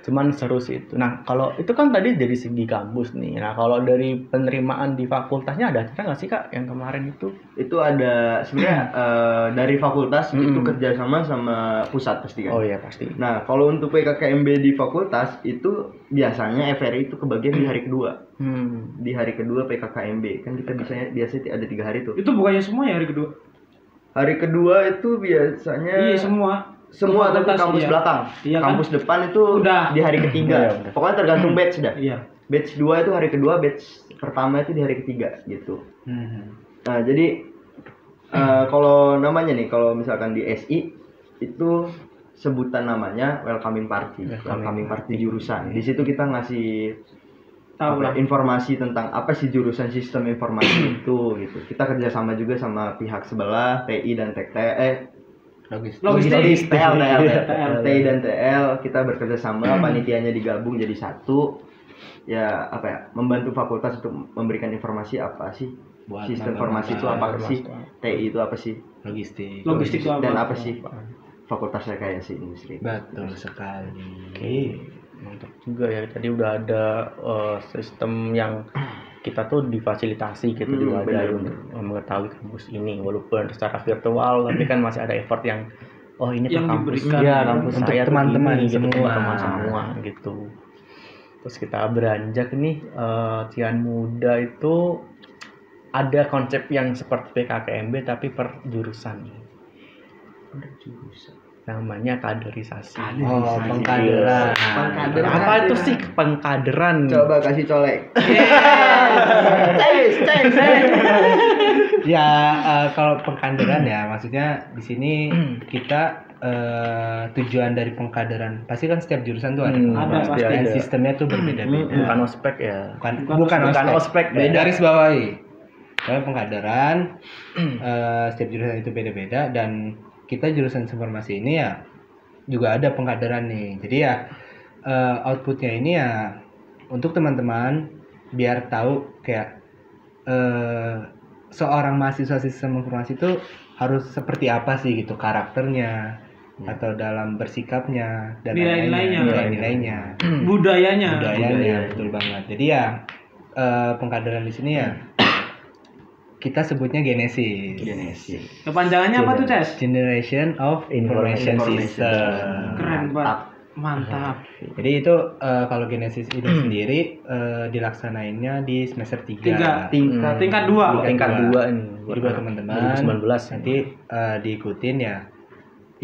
cuman seru sih itu nah kalau itu kan tadi dari segi kampus nih nah kalau dari penerimaan di fakultasnya ada acara nggak sih kak yang kemarin itu
itu ada sebenarnya eh, dari fakultas itu
Mm-mm.
kerjasama sama pusat pasti kan
oh iya pasti
nah kalau untuk PKKMB di fakultas itu biasanya FRI itu kebagian di hari kedua
hmm.
di hari kedua PKKMB kan kita biasanya biasanya ada tiga hari tuh
Itu bukannya semua ya hari kedua?
hari kedua itu
Iya,
biasanya
semua.
Eh, semua tapi
Fakultas,
kampus
iya.
belakang
Iya kan?
kampus depan itu
Udah.
di hari ketiga
Iya, udah.
pokoknya tergantung batch dah
Iya.
batch 2 itu hari kedua batch pertama itu di hari ketiga gitu
Hmm.
Nah, jadi eh, kalau namanya nih, kalau misalkan di SI itu sebutan namanya welcoming party,
Welcoming
welcoming party jurusan. Di situ kita ngasih
Iya. Tahu
apa, ya,
lah.
informasi tentang apa sih jurusan sistem informasi itu gitu. Kita kerjasama juga sama pihak sebelah TI dan TT eh
logis
Logistik.
logistik, TL, TL,
TL.
TI dan TL kita bekerja sama panitianya digabung jadi satu ya apa ya membantu fakultas untuk memberikan informasi apa sih
Buat
sistem
maba-maba.
informasi itu apa sih TI itu apa sih
logistik Hmm.
Logistik itu apa?
dan apa sih fakultas rekayasa industri
betul sekali
Oke, mantap juga ya. Tadi udah ada eh, sistem yang kita tuh difasilitasi gitu
Hmm,
juga ada
benar,
untuk mengetahui kampus ini walaupun secara virtual tapi kan masih ada effort yang oh ini
Yang
tuh kampus
diberikan
ya kampus
untuk
saya tuh
teman-teman
gini, gitu,
semua.
teman-teman semua gitu terus kita beranjak nih eh, Cian Muda itu ada konsep yang seperti PKKMB tapi per jurusan namanya kaderisasi
oh pengkaderan
Pengkaderan.
apa itu sih pengkaderan?
coba kasih colek
ya eh, kalau pengkaderan ya maksudnya di sini kita eh, tujuan dari pengkaderan pasti kan setiap jurusan tuh ada
Hmm,
pengkaderan.
pasti
Dan
ada. Hmm,
sistemnya tuh
Iya.
berbeda-beda
bukan ospek ya.
bukan
Bukan
bukan
ospek.
ospek,
ospek,
Dari
ya.
garis bawahi Soalnya pengkaderan eh, setiap jurusan itu beda-beda dan kita jurusan informasi ini ya juga ada pengkaderan nih jadi ya eh, outputnya ini ya untuk teman-teman biar tahu kayak eh, seorang mahasiswa sistem informasi itu harus seperti apa sih gitu karakternya atau dalam bersikapnya dan
Hmm. Nilai-nilainya.
lain-lainnya, nilai-nilainya
Budayanya.
budayanya
Hmm. Budaya.
betul banget jadi ya eh, pengkaderan di sini ya kita sebutnya
Iya.
genesis
genesis
Kepanjangannya apa tuh, Ces?
generation of information,
Information
system,
Keren banget. Mantap.
jadi itu eh, kalau genesis itu
Hmm.
sendiri eh, dilaksanainnya di semester 3
Tiga.
tingkat
Hmm.
Tingkat dua.
Tingkat dua nih.
jadi buat teman-teman
2019
nanti eh, diikutin ya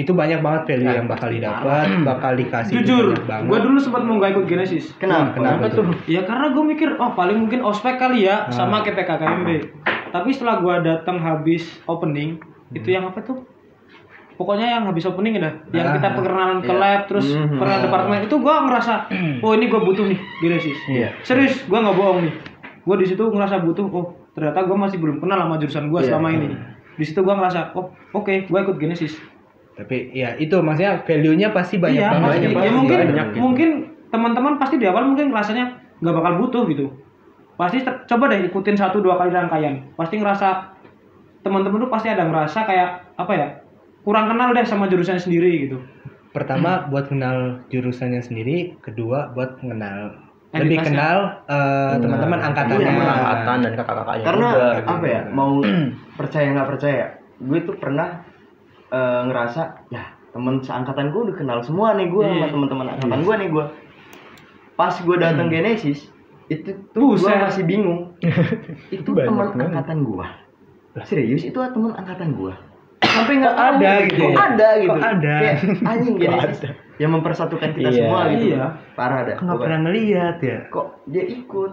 itu banyak banget value
Nah,
yang bakal didapat bakal dikasih
Hmm. Jujur,
banyak banget
gue dulu sempat mau gak ikut Genesis.
kenapa
kenapa tuh
Ya karena gue mikir, oh paling mungkin ospek kali ya, sama kayak PKKMB. Tapi setelah gue datang habis opening, itu yang apa tuh? Pokoknya yang habis opening dah, yang
Ah,
kita perkenalan ke
iya.
lab, terus
Mhm.
perkenalan departemen itu gue ngerasa, oh ini gue butuh nih Genesis.
Iya.
Serius, gue nggak bohong nih. Gue di situ ngerasa butuh, oh ternyata gue masih belum kenal sama jurusan gue
Iya.
selama ini. Di situ gue ngerasa, oh oke, gue ikut Genesis.
tapi ya itu maksudnya value-nya pasti banyak
iya,
banget
pasti.
banyak
Ya,
banget.
mungkin
Banyak gitu.
mungkin teman-teman pasti di awal mungkin rasanya nggak bakal butuh gitu. Pasti ter- coba deh ikutin satu dua kali rangkaian. Pasti ngerasa teman-teman tuh pasti ada ngerasa kayak apa ya kurang kenal deh sama jurusan sendiri gitu
Hmm.
Pertama buat kenal jurusannya sendiri, kedua buat kenal
Entitasnya.
lebih
ya?
kenal eh, teman-teman angkatannya.
teman Iya. angkatan dan kakak-kakaknya
Iya. karena
juga,
gitu
gitu.
apa ya mau
Hmm.
percaya nggak percaya gue tuh pernah eh, ngerasa ya temen seangkatan gue udah kenal semua nih gue sama
Iya.
teman-teman angkatan gue nih gue pas gue
Hmm.
datang Genesis itu tuh gue
Buset.
masih bingung itu
Banyak
teman
banget.
angkatan gue serius itu teman angkatan gue
sampai nggak
Kok ada
tahu
gitu
kok
ya?
ada gitu
Kok ada?
kayak anjing Genesis
ada.
yang mempersatukan kita
Iya.
semua gitu
Iya.
parah dah
Nggak
pokoknya.
pernah ngelihat ya.
kok dia ikut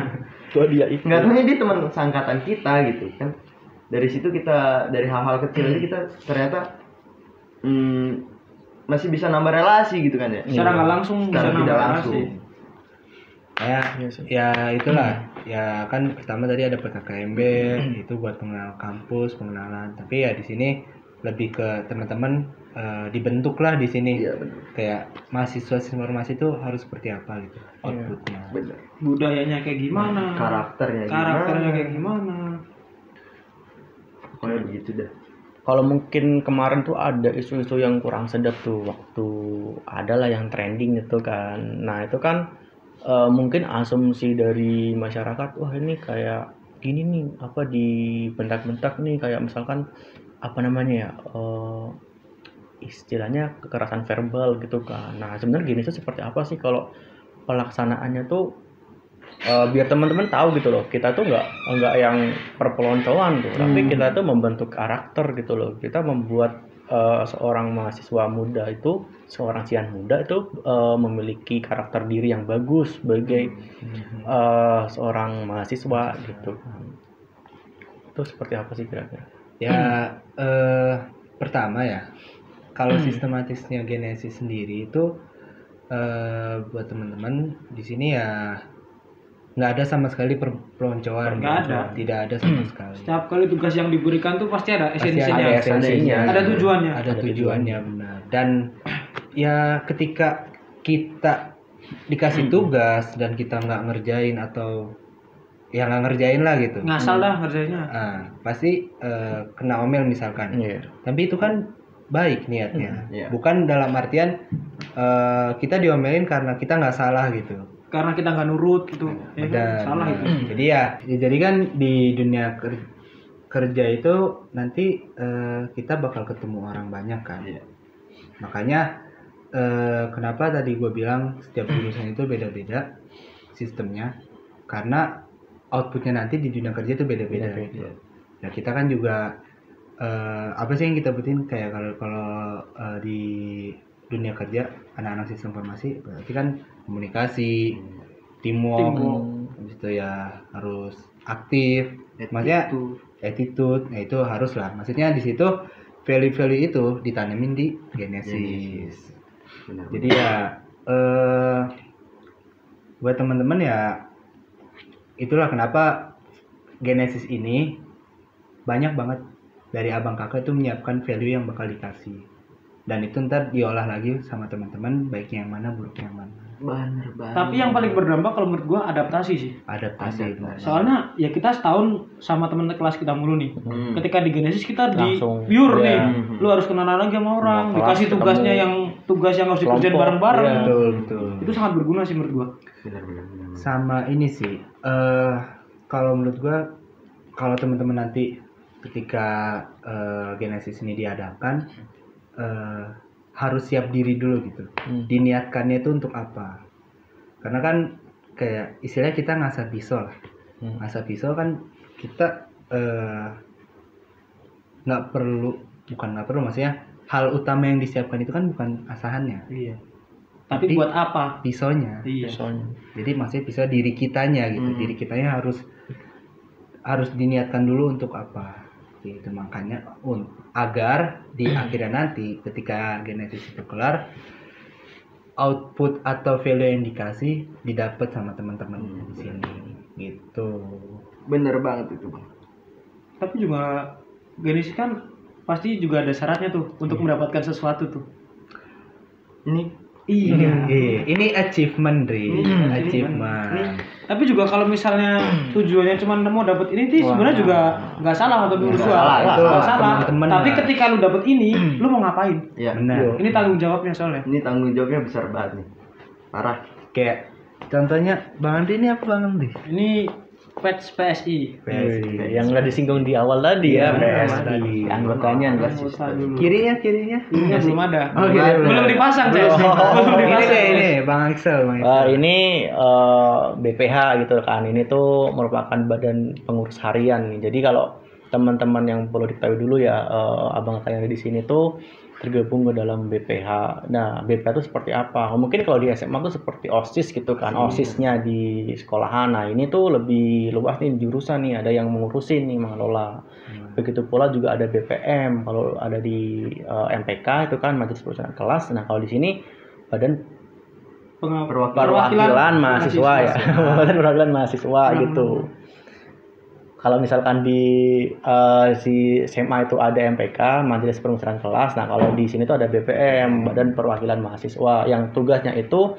Tuh dia itu
nggak tahunya dia teman seangkatan kita gitu kan dari situ kita dari hal-hal kecil aja kita ternyata mm, masih bisa nambah relasi gitu kan ya
secara nggak langsung
secara
bisa
tidak
nambah
langsung
relasi.
Ya,
Iya sih. Hmm.
ya itulah. Ya kan pertama tadi ada PKKMB itu buat pengenal kampus, pengenalan. Tapi ya di sini lebih ke teman-teman eh, dibentuklah di sini.
iya benar
Kayak mahasiswa informasi itu harus seperti apa gitu
Iya.
outputnya.
benar
budayanya kayak gimana
Nah, karakternya
karakternya gitu.
gimana?
kayak gimana
pokoknya begitu dah
kalau mungkin kemarin tuh ada isu-isu yang kurang sedap tuh waktu adalah yang trending gitu kan nah itu kan eh, mungkin asumsi dari masyarakat wah ini kayak gini nih apa di bentak-bentak nih kayak misalkan apa namanya ya eh, istilahnya kekerasan verbal gitu kan nah sebenarnya gini tuh seperti apa sih kalau pelaksanaannya tuh eh, biar teman-teman tahu gitu loh kita tuh nggak nggak yang perpeloncoan tuh tapi kita tuh membentuk karakter gitu loh kita membuat eh, seorang mahasiswa muda itu seorang sian muda itu eh, memiliki karakter diri yang bagus sebagai
Hmm.
eh, seorang mahasiswa gitu itu seperti apa sih kira-kira
Hmm.
Ya eh, pertama ya kalau sistematisnya genesis sendiri itu eh, buat teman-teman di sini ya nggak ada sama sekali perpeloncoan.
Nggak
gitu.
ada. Hmm.
Tidak ada sama sekali.
setiap kali tugas yang diberikan tuh pasti ada
Pasti
esensinya
ada esensinya.
ada tujuannya
Ada tujuannya benar. Dan ya ketika kita
Hmm.
dikasih tugas dan kita nggak ngerjain atau ya nggak ngerjain lah gitu.
Iya.
ngasal dah ngerjainnya
Ah, pasti eh, kena omel misalkan.
Iya.
tapi itu kan baik niatnya
Hmm, iya.
bukan dalam artian eh, kita diomelin karena kita nggak salah gitu
karena kita nggak nurut gitu ya, kan?
Dan-
salah itu
jadi ya, ya jadi kan di dunia ker- kerja itu nanti eh, kita bakal ketemu orang banyak kan
Iya.
makanya eh, kenapa tadi gue bilang setiap jurusan itu beda-beda sistemnya karena outputnya nanti di dunia kerja itu beda-beda
Beda-beda.
Nah, kita kan juga eh, apa sih yang kita butuhin kayak kalau kalau eh, di dunia kerja anak-anak sistem informasi berarti kan komunikasi, teamwork,
Teamwork.
habis itu ya harus aktif, maksudnya
Itu.
attitude, ya itu harus lah. Maksudnya di situ value-value itu ditanamin di
Genesis.
genesis.
Benar.
Jadi ya eh buat teman-teman ya itulah kenapa Genesis ini banyak banget dari abang kakak itu menyiapkan value yang bakal dikasih dan itu ntar diolah lagi sama teman-teman baiknya yang mana buruknya yang mana
benar banget
tapi yang paling berdampak kalau menurut gua adaptasi sih
adaptasi itu
soalnya ya kita setahun sama teman kelas kita mulu nih
Hmm.
ketika di Genesis kita di
Langsung,
pure
iya.
nih lu harus kenalan lagi sama orang
Semua kelas
dikasih
ketemu.
tugasnya yang tugas yang harus dikerjain
Kelompok,
bareng-bareng
iya.
betul betul
itu sangat berguna sih menurut gua
benar benar benar
sama ini sih eh kalau menurut gua kalau teman-teman nanti ketika eh, Genesis ini diadakan eh harus siap diri dulu gitu
Hmm.
diniatkannya itu untuk apa karena kan kayak istilahnya kita ngasah pisau lah
Hmm.
ngasah pisau kan kita eh, nggak perlu bukan nggak perlu maksudnya hal utama yang disiapkan itu kan bukan asahannya
iya tapi
Tapi-
buat apa
pisaunya
iya
Soalnya.
jadi maksudnya bisa diri kitanya gitu
Hmm.
diri kitanya harus harus diniatkan dulu untuk apa itu makanya un agar di akhirnya nanti ketika genesis itu kelar output atau value yang dikasih didapat sama teman-teman
Hmm.
di sini gitu
benar banget itu bang
tapi juga Genesis kan pasti juga ada syaratnya tuh untuk mendapatkan sesuatu tuh
ini
Iya, Hmm, ini achievement, Ri.
Ini achievement.
achievement.
Tapi juga kalau misalnya tujuannya cuma mau dapat ini sih
Wah.
sebenarnya juga nggak salah kalau menurut
Nggak
gua.
salah,
Nggak
itu
salah.
temen-temen
Tapi
lah.
ketika lu dapat ini, lu mau ngapain?
Iya.
benar
Iya.
Ini tanggung jawabnya soalnya.
Ini tanggung jawabnya besar banget nih. Parah.
kayak contohnya bang Andi ini apa bang Andi
Ini patch PSI.
Wih, yang udah disinggung di awal tadi ya,
Iya,
PSI.
tadi.
Anggotanya enggak sih.
Anggota dulu.
kirinya kirinya
Ini belum ada.
Oh, iya, iya,
belum
iya.
dipasang, Cek.
Belum.
Belum
ini
dipasang.
deh ini bang Axel bang
Eh,
Axel
ini eh, BPH gitu kan. Ini tuh merupakan badan pengurus harian nih. Jadi kalau teman-teman yang perlu diketahui dulu ya eh, abang saya di sini tuh tergabung ke dalam BPH. Nah, BPH itu seperti apa? Mungkin kalau di SMA tuh seperti OSIS gitu kan. OSISnya di sekolahan. Nah, ini tuh lebih luas nih jurusan nih, ada yang mengurusin nih mengelola. Begitu pula juga ada BPM kalau ada di eh, MPK itu kan majelis perusahaan kelas. Nah, kalau di sini badan
Pengap-
perwakilan mahasiswa ya perwakilan perwakilan mahasiswa
Hmm.
gitu kalau misalkan di eh, si SMA itu ada MPK Majelis Permusyawaratan Kelas nah kalau di sini tuh ada BPM Badan Perwakilan Mahasiswa yang tugasnya itu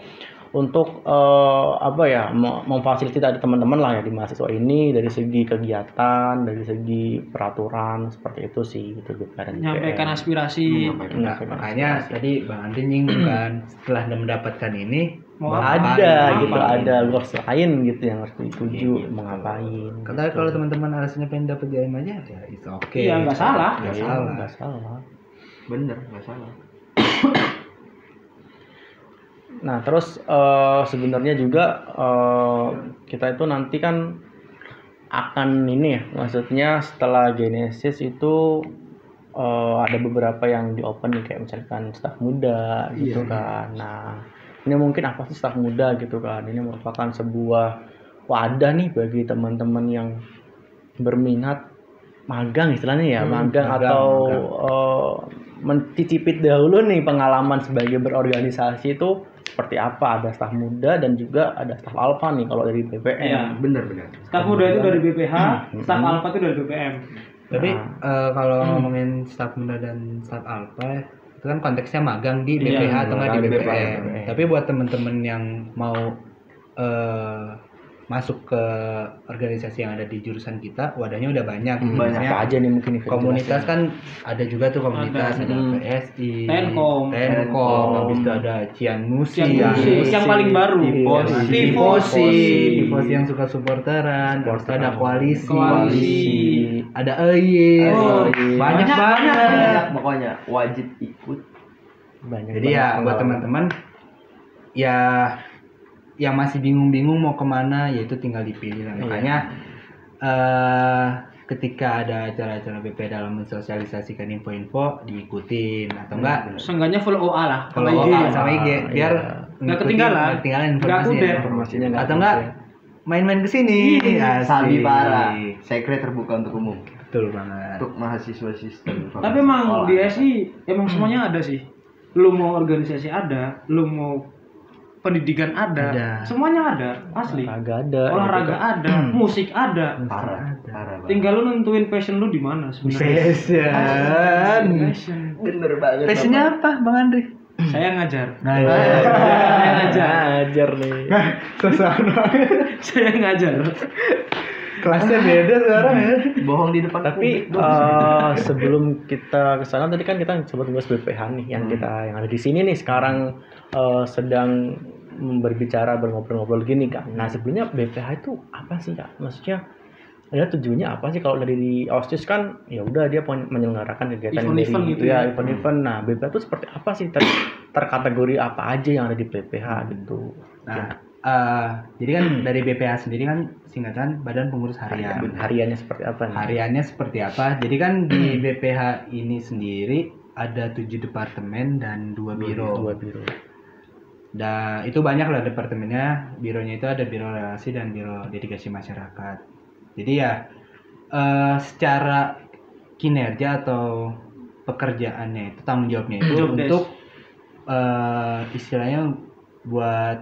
untuk eh, apa ya me- memfasilitasi teman-teman lah ya di mahasiswa ini dari segi kegiatan dari segi peraturan seperti itu sih gitu BPM
Nyampaikan aspirasi.
Nah,
makanya tadi bang Andi nyinggung kan setelah dia mendapatkan ini
Mau
mau
apa?
ada
Ngapain?
gitu ada goals lain gitu yang harus dituju mengapain
Kata kalau teman-teman alasannya pengen dapet jaim aja, ya itu oke.
Iya, nggak salah.
Nggak
Iya,
salah.
nggak salah
Bener, nggak salah.
nah terus eh, sebenarnya juga eh, kita itu nanti kan akan ini ya maksudnya setelah Genesis itu eh, ada beberapa yang di open nih kayak misalkan staff muda gitu kan nah ini mungkin apa sih staff muda gitu kan ini merupakan sebuah wadah nih bagi teman-teman yang berminat magang istilahnya ya
Hmm,
magang,
magang,
atau eh, mencicipi dahulu nih pengalaman sebagai berorganisasi itu seperti apa ada staf muda dan juga ada staf alfa nih kalau dari BPM
Iya.
Bener bener.
Staf muda itu dari BPH, staf alfa itu dari BPM.
Tapi eh, kalau ngomongin staff muda dan staff alpha itu kan konteksnya magang di
Iya,
BPH atau nggak di
magang di
BPM.
BPM.
Tapi buat temen-temen yang mau eh, masuk ke organisasi yang ada di jurusan kita, wadahnya udah banyak.
Hmm, apa
Banyak
Misalnya
aja nih mungkin yang
komunitas kan ada juga tuh komunitas
Ada.
ada,
Hmm.
PSI,
Tenkom.
Tenkom, habis itu ada Cian Musi,
Cian Musi, yang paling baru.
Iya.
Tifosi,
Tifosi.
Tifosi,
Tifosi
yang suka supporteran, terus
Supporteran.
ada koalisi,
Koalisi.
ada EY,
Oh,
banyak,
banyak,
banget.
Banyak Iya, pokoknya wajib ikut.
jelasnya. banyak
Jadi ya
banget
buat
pengalaman.
teman-teman ya yang masih bingung-bingung mau kemana ya itu tinggal dipilih lah.
Iya.
Makanya eh, ketika ada acara-acara BP dalam mensosialisasikan info-info diikutin atau enggak
Seenggaknya follow OA lah.
kalau
Follow
IG
IG.
sama IG
Iya.
biar ngikutin,
ketinggalan.
ketinggalan
Nggak
informasinya.
kudet.
informasinya nggak
Atau enggak
kudet.
main-main ke sini. Asik.
Sabi parah. Sekre terbuka untuk umum.
Betul banget.
Untuk mahasiswa sistem.
Tapi emang
sekolah.
di SI emang semuanya ada sih. Lu mau organisasi ada, lu mau pendidikan ada,
Ada.
semuanya ada, asli.
Kagak ada
Olahraga ada, musik ada.
parah. Parah. banget.
Tinggal lu nentuin passion lu di mana sebenarnya.
Passion.
Passion.
bener banget. Bapak.
Passionnya apa, Bang Andre?
Saya ngajar.
Nah,
Saya
ajar
ngajar.
ajar nih
Saya ngajar.
Kelasnya beda sekarang ya.
bohong di depan
tapi
publik dong.
eh, sebelum kita ke sana tadi kan kita sempat bahas BPH nih yang kita yang ada di sini nih sekarang eh, sedang berbicara berngobrol-ngobrol gini kan nah sebenarnya BPH itu apa sih kak maksudnya ya tujuannya apa sih kalau dari di OSIS kan ya udah dia pen- menyelenggarakan kegiatan
Event-event
dari-
gitu
ya,
ya.
event-event nah BPH itu seperti apa sih Ter- terkategori apa aja yang ada di BPH gitu
Nah, eh, jadi kan dari BPH sendiri kan singkatan Badan Pengurus
harian
Harian.
Ya, hariannya seperti apa nih
Hariannya seperti apa? Jadi kan di BPH ini sendiri ada tujuh departemen dan dua biro.
dua biru
Dan itu banyak lah departemennya. Bironya itu ada biro relasi dan biro dedikasi masyarakat. Jadi ya eh, secara kinerja atau pekerjaannya itu tanggung jawabnya itu
Job desk.
untuk eh, istilahnya buat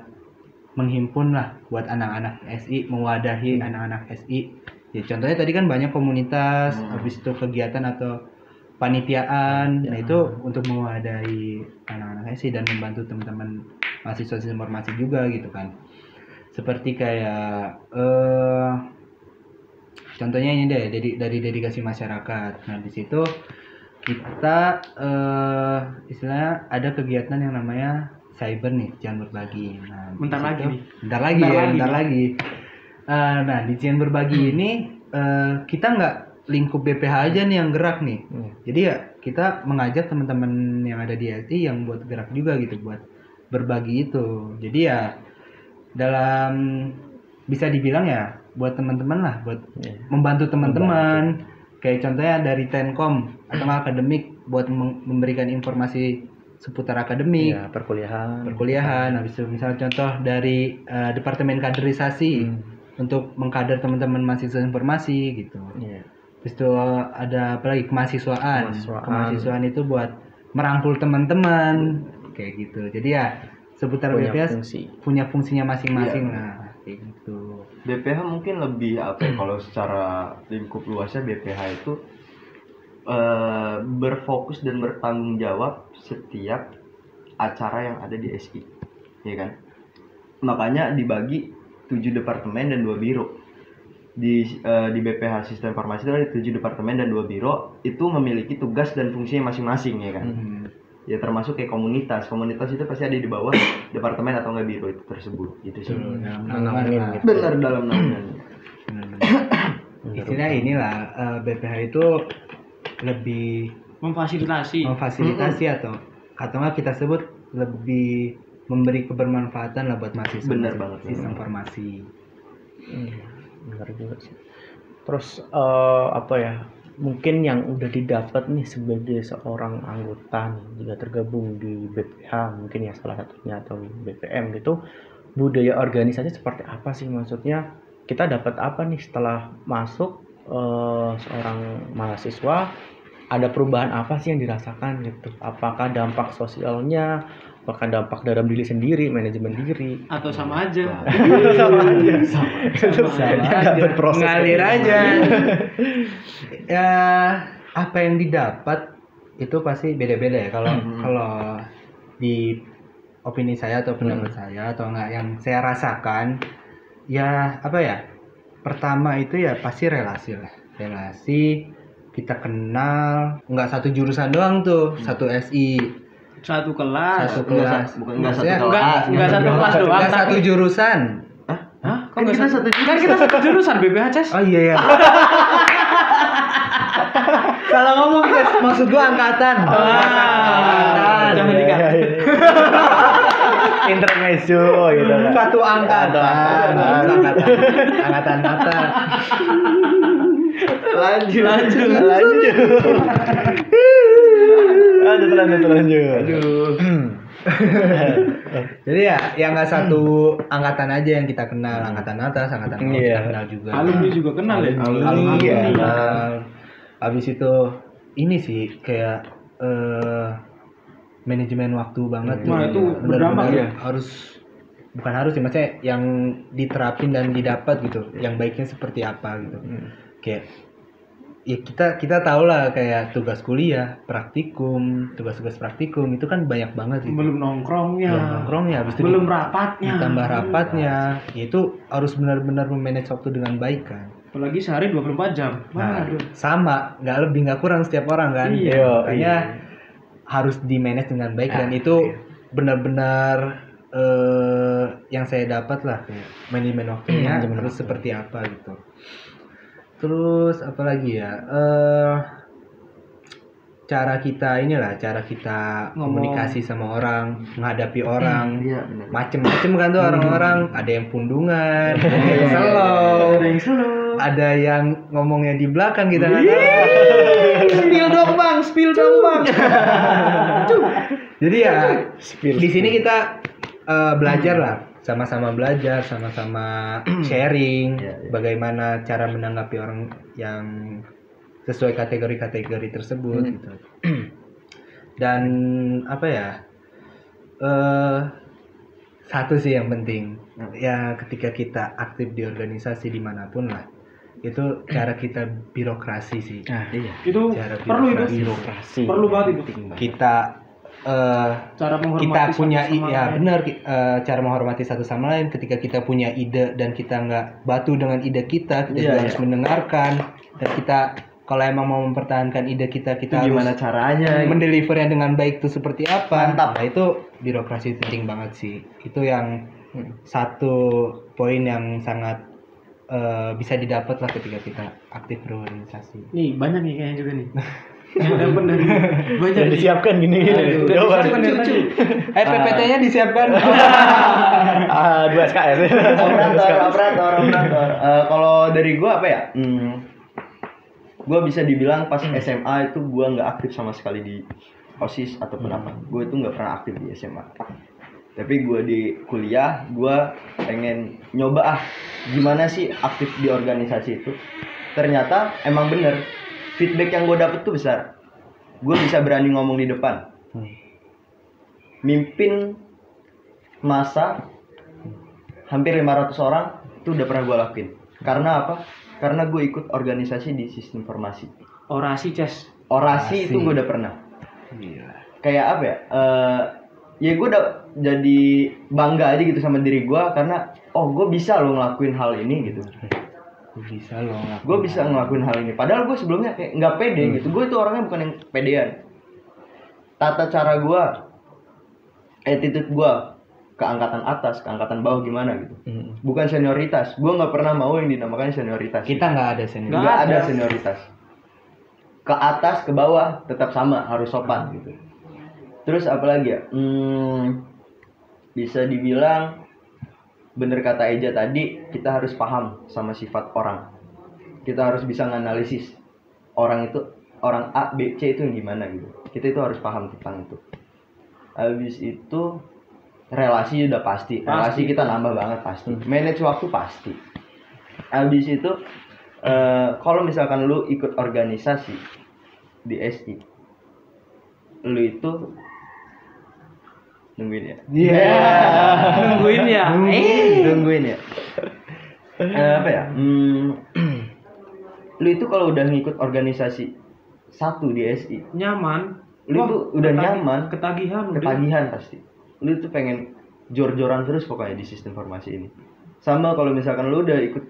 menghimpun lah buat anak-anak SI mewadahi anak-anak SI. Ya contohnya tadi kan banyak komunitas,
Hmm.
habis itu kegiatan atau panitiaan. Nah, itu untuk mewadahi anak-anak SI dan membantu teman-teman mahasiswa sistem informasi juga gitu kan. seperti kayak eh contohnya ini deh dari dari dedikasi masyarakat. Nah di situ kita eh istilahnya ada kegiatan yang namanya cyber nih jangan berbagi. Nah, di
Bentar
situ-
lagi nih.
Bentar lagi
Bentar
ya,
lagi
bentar
nih.
lagi. Eh, nah di jangan berbagi ini eh kita nggak lingkup BPH aja nih yang gerak nih.
Hmm.
Jadi ya kita mengajak teman-teman yang ada di LT yang buat gerak juga gitu buat berbagi itu. Jadi ya dalam bisa dibilang ya buat teman-teman lah buat
Iya.
membantu teman-teman. Kayak contohnya dari Tenkom
Hmm.
atau nggak akademik buat meng- memberikan informasi seputar akademik,
Iya, perkuliahan.
perkuliahan. Habis itu misalnya contoh dari eh, Departemen Kaderisasi
Hmm.
untuk mengkader teman-teman mahasiswa informasi gitu.
Iya.
Terus itu ada apa lagi kemahasiswaan.
Kemahasiswaan.
Kemahasiswaan, itu buat merangkul teman-teman kayak gitu. Jadi ya seputar
Punya
BPS
fungsi.
punya fungsinya masing-masing
Iya.
lah kayak gitu.
BPH mungkin lebih apa ya, kalau secara lingkup luasnya BPH itu eh, berfokus dan bertanggung jawab setiap acara yang ada di SI ya kan makanya dibagi tujuh departemen dan dua biro di eh, di BPH sistem informasi itu ada tujuh departemen dan dua biro itu memiliki tugas dan fungsinya masing-masing ya kan
Hmm.
ya termasuk kayak komunitas komunitas itu pasti ada di bawah departemen atau nggak biro itu tersebut gitu sih
Betul, ya. dalam
Nah,
naungan
naungin
lah.
gitu.
benar dalam naungannya
Benar-benar. Istilah inilah eh, BPH itu lebih
memfasilitasi
memfasilitasi atau atau nggak kita sebut lebih memberi kebermanfaatan lah buat mahasiswa
Benar banget,
sistem
benar.
informasi.
Iya, benar juga sih. Terus eh, apa ya? Mungkin yang udah didapat nih sebagai seorang anggota nih, juga tergabung di BPH mungkin ya salah satunya atau BPM gitu, budaya organisasi seperti apa sih maksudnya? Kita dapat apa nih setelah masuk eh, seorang mahasiswa? Ada perubahan apa sih yang dirasakan gitu? Apakah dampak sosialnya? Apakah dampak dalam diri sendiri, manajemen diri?
atau sama aja
sama aja.
Sama
Dia
aja.
dapat proses
Ngalir
kayak
aja. ya apa yang didapat itu pasti beda-beda ya kalau kalau di opini saya atau pendapat saya atau enggak yang saya rasakan ya apa ya pertama itu ya pasti relasi lah relasi kita kenal nggak satu jurusan doang tuh satu SI
satu kelas
Nggak
satu kelas
sa- bukan- nggak satu
Maksudnya-
kelas.
enggak enggak satu kelas doang
nggak satu
tapi-
jurusan
Hah? Kok
Kan
nggak
kita satu
kan kita satu jurusan BPH Ces
oh iya ya
Salah ngomong guys.
maksud gua angkatan
Ah,
angkatan
jangan
Iya,
dikat.
Intermezzo gitu kan.
satu angkatan
Angkatan.
angkatan angkatan mata
lanjut lanjut
Lanjut. Lanjut lanjut lanjut.
jadi ya yang nggak satu angkatan aja yang kita kenal angkatan atas angkatan bawah
Iya.
kita kenal juga
alumni juga kenal ya
alumni
Iya.
kenal. habis itu ini sih kayak eh, manajemen waktu banget
Hmm.
Iya.
tuh.
Wah, itu
Benar-benar
berdampak ya.
harus bukan harus sih maksudnya yang diterapin dan didapat gitu
Iya.
yang baiknya seperti apa gitu
Hmm.
kayak ya kita kita tahu lah kayak tugas kuliah praktikum tugas-tugas praktikum itu kan banyak banget gitu.
belum nongkrongnya
belum nongkrongnya habis itu
belum
di-
rapatnya Iya.
ditambah rapatnya ya itu harus benar-benar memanage waktu dengan baik kan
apalagi sehari 24 jam
Nah,
waduh
sama, nggak lebih nggak kurang setiap orang kan.
Iya.
Yo,
Makanya harus di manage dengan
Nah,
baik dan itu
iya.
benar-benar eh, yang saya dapat lah
Iya.
kayak manajemen waktunya
Manajemen
harus
waktu.
seperti apa gitu. Terus apalagi ya eh cara kita inilah cara kita
Ngomong.
komunikasi sama orang, menghadapi orang.
iya benar Hmm.
Macem-macem kan tuh orang-orang, ada yang pundungan, ada
Iya,
yang
iya, iya.
slow,
ada yang selalu
ada yang ngomongnya di belakang kita kan? nggak tahu.
spill dong bang spill dong bang
Jadi ya
Spill.
di sini kita eh, belajar lah, sama-sama belajar, sama-sama
Hmm.
sharing,
Iya, iya.
bagaimana cara menanggapi orang yang sesuai kategori-kategori tersebut
Hmm.
gitu. Dan apa ya? eh satu sih yang penting ya ketika kita aktif di organisasi dimanapun lah itu cara kita birokrasi sih
Nah,
iya
itu
Cara
perlu itu
birokrasi.
birokrasi.
perlu banget itu
kita eh,
Cara menghormati
kita
satu
punya i-
sama
ya
lain.
benar ki- eh, cara menghormati satu sama lain ketika kita punya ide dan kita nggak batu dengan ide kita kita
Iya,
juga
iya.
harus mendengarkan dan kita kalau emang mau mempertahankan ide kita
itu
kita
gimana
harus
caranya
mendelivernya dengan baik itu seperti apa
Mantap.
Nah, itu birokrasi penting banget sih itu yang
Hmm.
satu poin yang sangat eh, bisa didapat lah ketika kita aktif berorganisasi
Nih banyak nih kayaknya juga nih. Yang dapat dari banyak
Udah
nih.
disiapkan gini
Aduh,
gini.
udah
Jawaban.
disiapkan dari tadi.
eh PPT-nya disiapkan
Ah, dua SKS.
operator operator operator Eh, kalau dari gua apa ya hmm, gua bisa dibilang pas SMA itu gua nggak aktif sama sekali di osis ataupun apa gua itu nggak pernah aktif di SMA tapi gua di kuliah gua pengen nyoba ah gimana sih aktif di organisasi itu ternyata emang bener feedback yang gua dapet tuh besar gua bisa berani ngomong di depan mimpin masa hampir 500 orang itu udah pernah gue lakuin karena apa karena gue ikut organisasi di sistem formasi
Orasi Ces.
orasi,
Orasi. Iya.
itu gue udah pernah kayak apa ya Eh ya gue udah jadi bangga aja gitu sama diri gue karena oh gue bisa loh ngelakuin hal ini gitu
Gua bisa loh ngelakuin Hmm.
gue bisa ngelakuin hal ini padahal gue sebelumnya kayak nggak pede gitu gue itu orangnya bukan yang pedean tata cara gue attitude gue ke angkatan atas ke angkatan bawah gimana gitu
Hmm.
bukan senioritas gue nggak pernah mau yang dinamakan senioritas
kita nggak ada senior
nggak
Nggak
ada.
ada.
senioritas ke atas ke bawah tetap sama harus sopan gitu terus apalagi ya hmm, bisa dibilang bener kata Eja tadi kita harus paham sama sifat orang kita harus bisa menganalisis orang itu orang A B C itu yang gimana gitu kita itu harus paham tentang itu habis itu relasi udah pasti relasi
Pasti.
kita nambah banget pasti manage waktu pasti habis itu eh, kalau misalkan lu ikut organisasi di SI lu itu nungguin ya
Nungguin ya.
nungguin ya Eh, apa ya hmm, lu itu kalau udah ngikut organisasi satu di SI
Nyaman.
Lu
Wah,
itu udah
ketagi-
nyaman.
Ketagihan udah.
ketagihan pasti lu tuh pengen jor-joran terus pokoknya di sistem formasi ini sama kalau misalkan lu udah ikut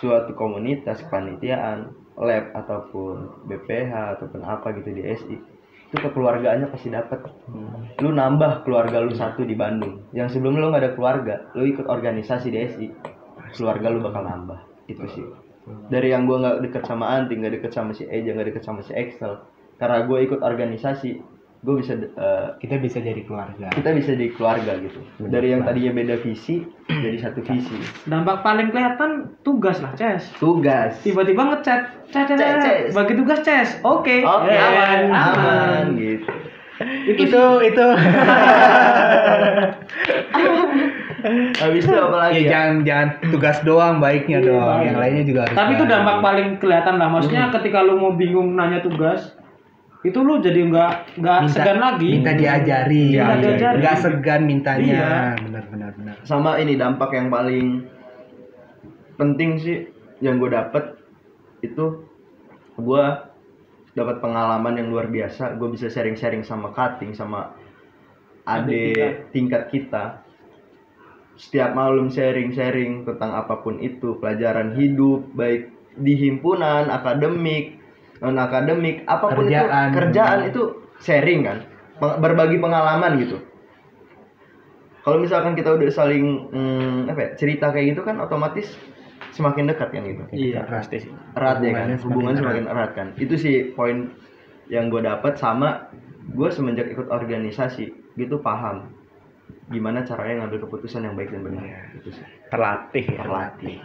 suatu komunitas kepanitiaan lab ataupun BPH ataupun apa gitu di SI itu kekeluargaannya pasti dapat lu nambah keluarga lu satu di Bandung yang sebelumnya lu nggak ada keluarga lu ikut organisasi di SI keluarga lu bakal nambah itu sih dari yang gua nggak deket sama Anti nggak deket sama si Eja nggak deket sama si Excel karena gue ikut organisasi gue bisa eh,
kita bisa jadi keluarga
kita bisa di keluarga gitu dari yang tadinya beda visi jadi satu visi
Dampak paling kelihatan tugas lah Ces.
tugas
Tiba-tiba ngechat, Ces, Ces,
Ces,
Ces,
Ces.
bagi tugas Ces. Oke.
oke
Eh,
aman aman gitu
Itu itu.
habis itu apa
Ya,
lagi ya,
jangan jangan tugas doang baiknya
Iya,
dong.
baik.
Yang lainnya juga harus.
Tapi itu
baik.
dampak paling kelihatan lah. Maksudnya ketika lu mau bingung nanya tugas, itu lu jadi nggak nggak
Minta-
segan lagi.
Minta Iya, diajari.
Minta diajari.
Enggak segan mintanya.
Iya.
Benar benar benar.
sama ini dampak yang paling penting sih yang gue dapet itu gue dapat pengalaman yang luar biasa gue bisa sharing-sharing sama cutting sama adik tingkat kita setiap malam sharing-sharing tentang apapun itu pelajaran hidup baik di himpunan akademik non akademik apapun
Kerjaan.
itu kerjaan itu sharing kan Peng- berbagi pengalaman gitu kalau misalkan kita udah saling mm, apa ya, cerita kayak gitu kan otomatis semakin dekat kan gitu
Iya, pasti sih.
erat ya kan
Hubungannya semakin
hubungan
erat.
semakin erat kan itu sih poin yang gue dapat sama gue semenjak ikut organisasi gitu paham gimana caranya ngambil keputusan yang baik dan benar
Iya.
itu sih
Terlatih ya.
terlatih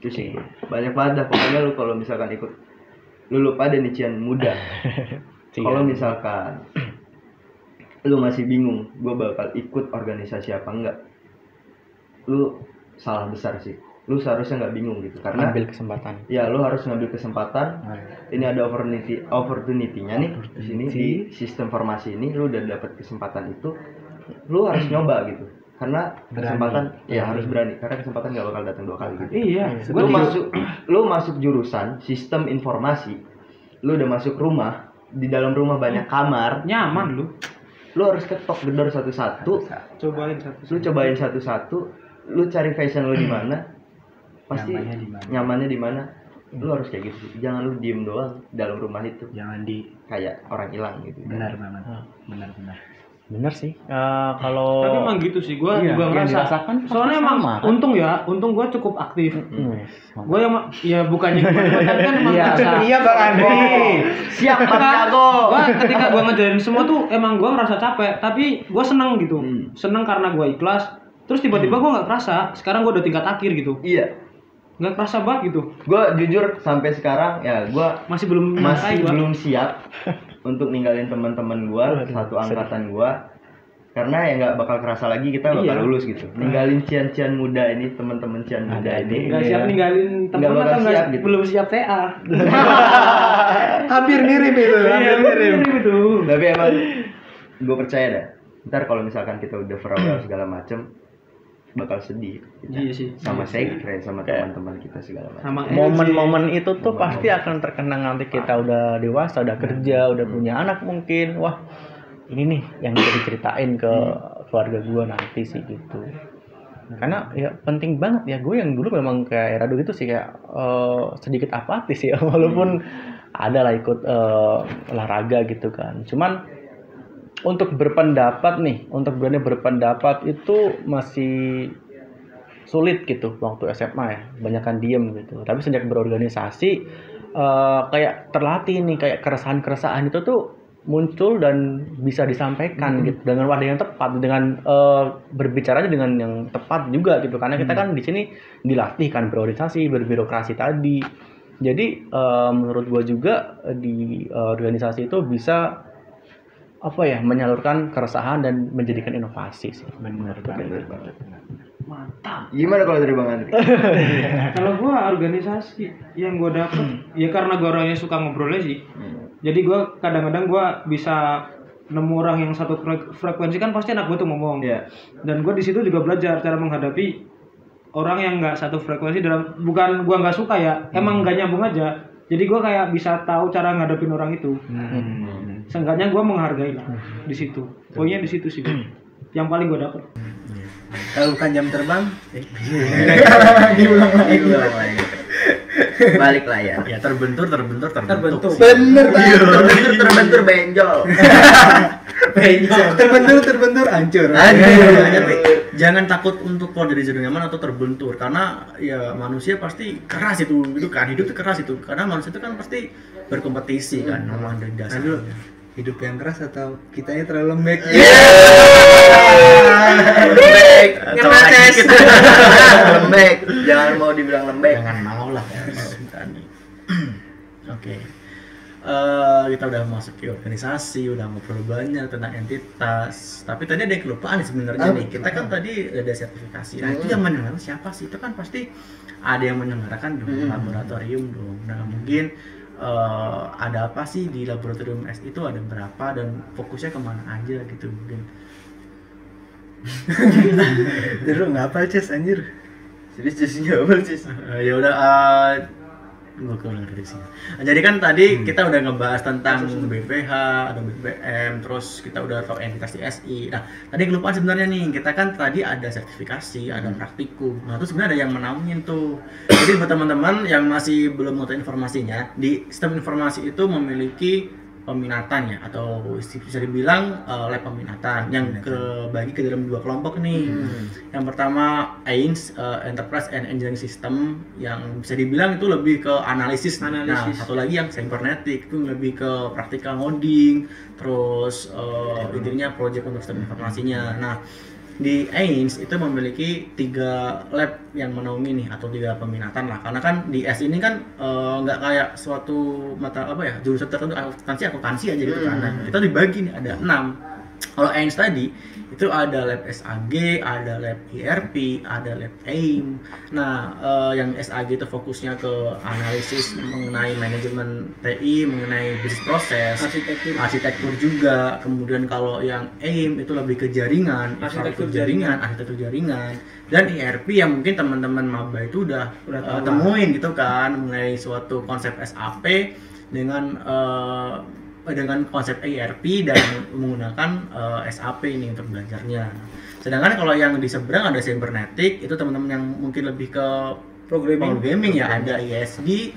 itu sih banyak banget dah pokoknya lu kalau misalkan ikut lu lupa dan nician muda
Iya.
kalau misalkan lu masih bingung gue bakal ikut organisasi apa enggak lu salah besar sih lu seharusnya nggak bingung gitu karena
ambil kesempatan.
ya lu harus ngambil kesempatan ini ada opportunity opportunity-nya nih di sini di sistem formasi ini lu udah dapat kesempatan itu lu harus nyoba gitu karena
Berani.
kesempatan ya harus berani karena kesempatan gak bakal datang dua kali gitu.
Iya.
lu
Gua juga-
masuk lu masuk jurusan sistem informasi lu udah masuk rumah di dalam rumah banyak kamar
nyaman lu.
lu harus ketok gedor satu-satu
cobain satu
lu cobain satu-satu lu cari fashion lu di mana pasti
Nyamannya di mana. Hmm.
nyamannya di mana lu harus kayak gitu sih. jangan lu diem doang dalam rumah itu
jangan di
kayak orang hilang gitu
benar banget
Ah.
benar benar
Bener sih. Eh, kalau
Oh.
tapi emang gitu sih gue
Iya, yang
juga ngerasa
dirasakan
soalnya
sama,
emang
kan?
untung ya untung gue cukup aktif
Hmm,
Yes.
gue yang ma- ya bukannya gimana, tapi kan
Iya,
emang ngerasa-
Bang Andri
Iya, siap Bang Jago
Gua ketika gua ngejalan semua tuh emang gua ngerasa capek tapi gua seneng gitu
Hmm.
seneng karena gua ikhlas terus tiba-tiba gua nggak kerasa sekarang gua udah tingkat akhir gitu
iya
nggak kerasa banget gitu
gue jujur sampai sekarang ya gue
masih belum
masih
nyampai gua.
belum siap untuk ninggalin teman-teman gua satu angkatan gua karena ya nggak bakal kerasa lagi kita bakal
Iya.
lulus gitu ninggalin cian-cian muda ini teman-teman cian muda ini
nggak siap ninggalin temen
iya. Nggak bakal
atau nggak
siap gitu.
belum siap TA Iya,
hampir mirip itu
Iya,
hampir mirip
gitu
tapi emang gue percaya dah ntar kalau misalkan kita udah farewell segala macem bakal sedih kita.
iya sih
sama sekre sama teman-teman kita segala macam
sama
Momen-momen itu tuh pasti akan terkenang nanti kita udah dewasa, udah kerja, udah punya anak mungkin. Wah, ini nih yang bisa diceritain ke keluarga gua nanti sih gitu. Karena ya penting banget ya gue yang dulu memang kayak Erado gitu sih kayak eh, sedikit apatis ya walaupun ada lah ikut eh, olahraga gitu kan. Cuman untuk berpendapat nih, untuk berani berpendapat itu masih sulit gitu waktu SMA ya banyakkan diem gitu tapi sejak berorganisasi eh, kayak terlatih nih kayak keresahan-keresahan itu tuh muncul dan bisa disampaikan
Hmm.
gitu dengan wadah yang tepat dengan eh, berbicaranya dengan yang tepat juga gitu karena
Hmm.
kita kan di sini dilatih kan berorganisasi berbirokrasi tadi jadi eh, menurut gua juga eh, di eh, organisasi itu bisa apa ya menyalurkan keresahan dan menjadikan inovasi sih
benar
Bener
banget
banget.
mantap
gimana kalau dari bang Andri
kalau gua organisasi yang gua
Hmm.
dapet ya karena gua orangnya suka ngobrolnya sih jadi gua kadang-kadang gua bisa nemu orang yang satu fre- frekuensi kan pasti anak gue tuh ngomong
ya
dan gue di situ juga belajar cara menghadapi orang yang nggak satu frekuensi dalam bukan gua nggak suka ya emang nggak nyambung aja jadi gua kayak bisa tahu cara ngadepin orang itu seenggaknya gua menghargai lah di situ pokoknya di situ sih gua. yang paling gua dapet
kalau bukan jam terbang
balik layar
ya terbentur terbentur terbentuk
terbentuk
bener banget
terbentur benjol
benjol
terbentur terbentur hancur iya,
jangan takut untuk keluar dari zona nyaman atau terbentur karena ya manusia pasti keras itu itu kan hidup itu keras itu karena manusia itu kan pasti berkompetisi kan memang dari
Hmm. aduh
dasarnya
hidup yang keras atau kitanya terlalu lembek
Iya.
lembek
Ngetes.
lembek jangan mau dibilang lembek
jangan mau lah ya berani. oke Eh, kita udah masuk ke organisasi, udah ngobrol banyak tentang entitas. Tapi tadi ada yang kelupaan sebenarnya nih. Kita kan tadi ada sertifikasi. Nah itu
Hmm.
yang menyelenggarakan siapa sih? Itu kan pasti ada yang menyelenggarakan dong
Hmm.
laboratorium dong. Nah mungkin eh, ada apa sih di laboratorium S itu ada berapa dan fokusnya kemana aja gitu mungkin.
terus nggak apa ces anjir
serius jadi nggak sih
Eh, ya udah eh, gua kurang dari sini. Nah, Jadi kan tadi kita udah ngebahas tentang BPH atau BBM, terus kita udah tahu entitas di SI. Nah, tadi kelupaan sebenarnya nih, kita kan tadi ada sertifikasi, ada praktikum. Nah, itu sebenarnya ada yang menaungin tuh. Jadi buat teman-teman yang masih belum mengetahui informasinya, di sistem informasi itu memiliki peminatan ya atau bisa dibilang eh, lab peminatan yang kebagi ke dalam dua kelompok nih. Yang pertama AINS eh, Enterprise and Engineering System yang bisa dibilang itu lebih ke analisis. Nah,
Analisis.
satu lagi yang cybernetic itu lebih ke praktikal ngoding, terus eh, intinya project untuk sistem informasinya. Nah, di AINS itu memiliki tiga lab yang menaungi nih atau tiga peminatan lah karena kan di S ini kan eh, nggak kayak suatu mata apa ya jurusan tertentu akuntansi akuntansi aja gitu kan Nah, kita dibagi nih ada enam kalau AINS tadi itu ada lab SAG, ada lab IRP, ada lab AIM. Nah, eh, yang SAG itu fokusnya ke analisis mengenai manajemen TI, mengenai bisnis proses,
arsitektur
arsitektur juga kemudian kalau yang AIM itu lebih ke jaringan
Arsitektur
arsitektur jaringan dan ERP yang mungkin teman-teman maba itu udah,
Udah
uh,
tahu lah.
temuin gitu kan mengenai suatu konsep SAP dengan uh, dengan konsep ERP dan menggunakan eh, SAP ini untuk belajarnya. Sedangkan kalau yang di seberang ada cybernetic, itu teman-teman yang mungkin lebih ke
programming
programming ya ada ISD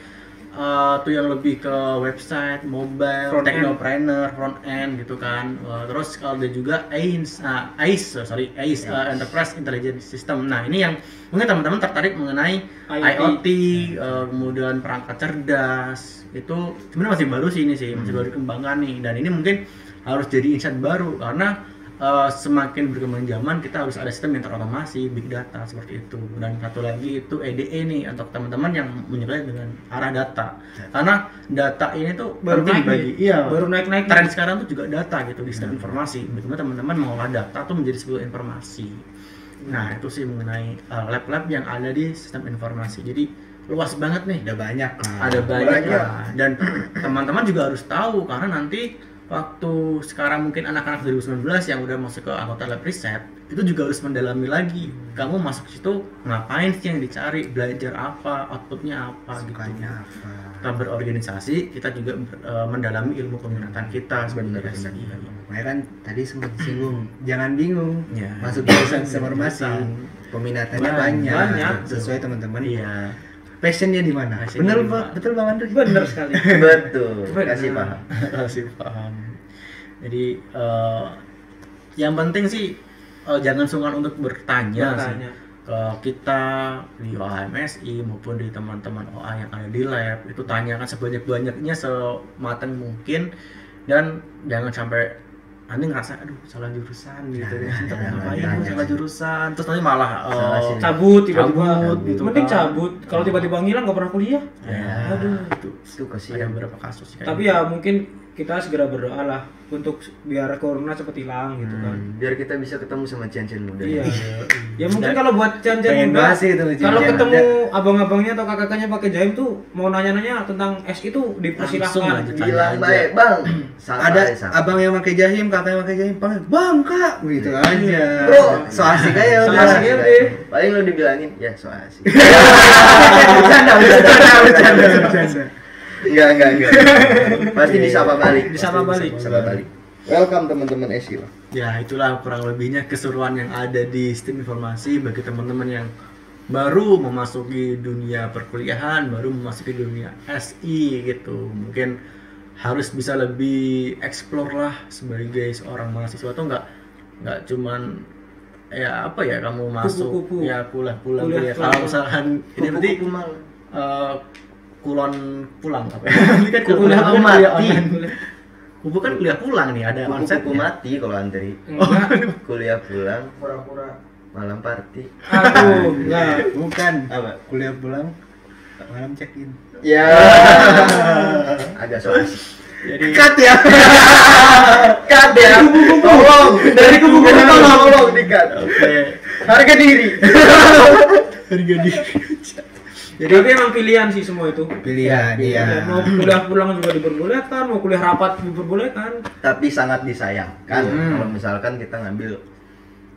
eh, tuh yang lebih ke website, mobile,
Front end.
technopreneur, front end gitu kan. Eh, terus kalau ada juga AIS, ah, AIS, sorry AIS eh, Enterprise Intelligence System. Nah ini yang mungkin teman-teman tertarik mengenai IoT,
Iya,
eh, kemudian perangkat cerdas itu sebenarnya masih baru sih ini sih masih
Hmm.
baru dikembangkan nih dan ini mungkin harus jadi insight baru karena eh, semakin berkembang zaman kita harus ada sistem yang terautomasi big data seperti itu dan satu lagi itu EDE nih untuk teman-teman yang menyukai dengan arah data karena data ini tuh
Iya. Baru
penting
naik
dibagi
nih. Hmm.
iya
baru naik naik
tren sekarang tuh juga data gitu di sistem informasi bagaimana teman-teman mengolah data tuh menjadi sebuah informasi nah itu sih mengenai uh, lab-lab yang ada di sistem informasi jadi luas banget nih
udah banyak
ada banyak
Nah, Banyak.
lah. dan teman-teman juga harus tahu karena nanti waktu sekarang mungkin anak-anak 2019 yang udah masuk ke anggota lab riset itu juga harus mendalami lagi kamu masuk situ ngapain sih yang dicari belajar apa outputnya apa gitu
sukanya apa
kita berorganisasi kita juga ber- eh, mendalami ilmu peminatan kita sebenarnya Iya.
makanya kan tadi sempat disinggung jangan bingung
ya
Nah, masuk jurusan informasi peminatannya
Banyak,
banyak,
Iya, banyak.
sesuai teman-teman
iya
passionnya di mana
Passionnya
bener
di
Pak?
mana?
betul bang Andri
bener sekali
Betul. Kasih paham.
masih paham jadi eh, yang penting sih eh, jangan sungkan untuk bertanya, Iya, sih.
Makanya.
ke kita di OHMSI maupun di teman-teman OA yang ada di lab itu tanyakan sebanyak-banyaknya sematang mungkin dan jangan sampai nanti ngerasa aduh salah jurusan gitu ya, Ntar
Nah, jangan,
ngapain
jangan,
gua salah
jangan.
jurusan terus nanti malah
Salah
eh,
sih.
cabut tiba-tiba
Cabut, gitu
mending
kan.
cabut kalau tiba-tiba ngilang nggak pernah kuliah
ya,
Aduh.
itu
itu
ada
kasihan
beberapa kasus kayak
gitu.
tapi ya mungkin kita segera berdoa lah untuk biar corona cepet hilang gitu kan
Hmm, biar kita bisa ketemu sama cian-cian muda
iya ya mungkin
Dan-
kalau buat cian-cian
pengen
muda
banget sih itu Iya, cian-cian
kalau
muda.
ketemu abang-abangnya atau kakak-kakaknya pakai jaim tuh mau nanya-nanya tentang S itu
Langsung aja
dipersilahkan
tanya
Bilang
aja.
baik, Bang. Sabar,
ada
ya, sabar.
abang yang pakai jahim, kakak yang pakai jahim, panggil bang kak, gitu
Iya.
aja.
Bro.
so asik aja
So
udah.
asik
ya,
aja. deh.
Paling lu dibilangin, ya so asik.
Bercanda, bercanda, bercanda, bercanda.
Enggak, enggak, enggak. Pasti Iya, disapa balik. Iya.
Disapa
Pasti
balik.
Disapa balik. Welcome teman-teman SI lah.
Ya itulah kurang lebihnya keseruan yang ada di sistem informasi bagi teman-teman yang baru memasuki dunia perkuliahan, baru memasuki dunia SI gitu. Mungkin harus bisa lebih explore lah sebagai seorang mahasiswa tuh nggak nggak cuman ya apa ya kamu masuk
Kupu-kupu.
ya pulang-pulang
Kuliah
ya. Kalau
pulang.
misalkan ini berarti
Kupu-kupu malam.
eh, kulon pulang apa ya? Ini kan
Kupu-kupu
kuliah
kuliah
online.
mati.
Kupu kan kuliah pulang nih ada onset
Kupu-kupu mati kalau antri.
enggak
Kuliah pulang,
Pura-pura.
malam party.
aduh enggak
Bukan.
Apa?
Kuliah pulang, malam check in.
Ya. Agak so asik.
Jadi
Cut ya.
Cut ya. Tolong. Dari kubu-kubu tolong, tolong dikat.
kayak
Harga diri.
harga diri.
jadi tapi emang pilihan sih semua itu
Pilihan, iya.
Ya, mau kuliah pulang juga diperbolehkan mau kuliah rapat diperbolehkan
Tapi sangat disayangkan
Hmm.
kalau misalkan kita ngambil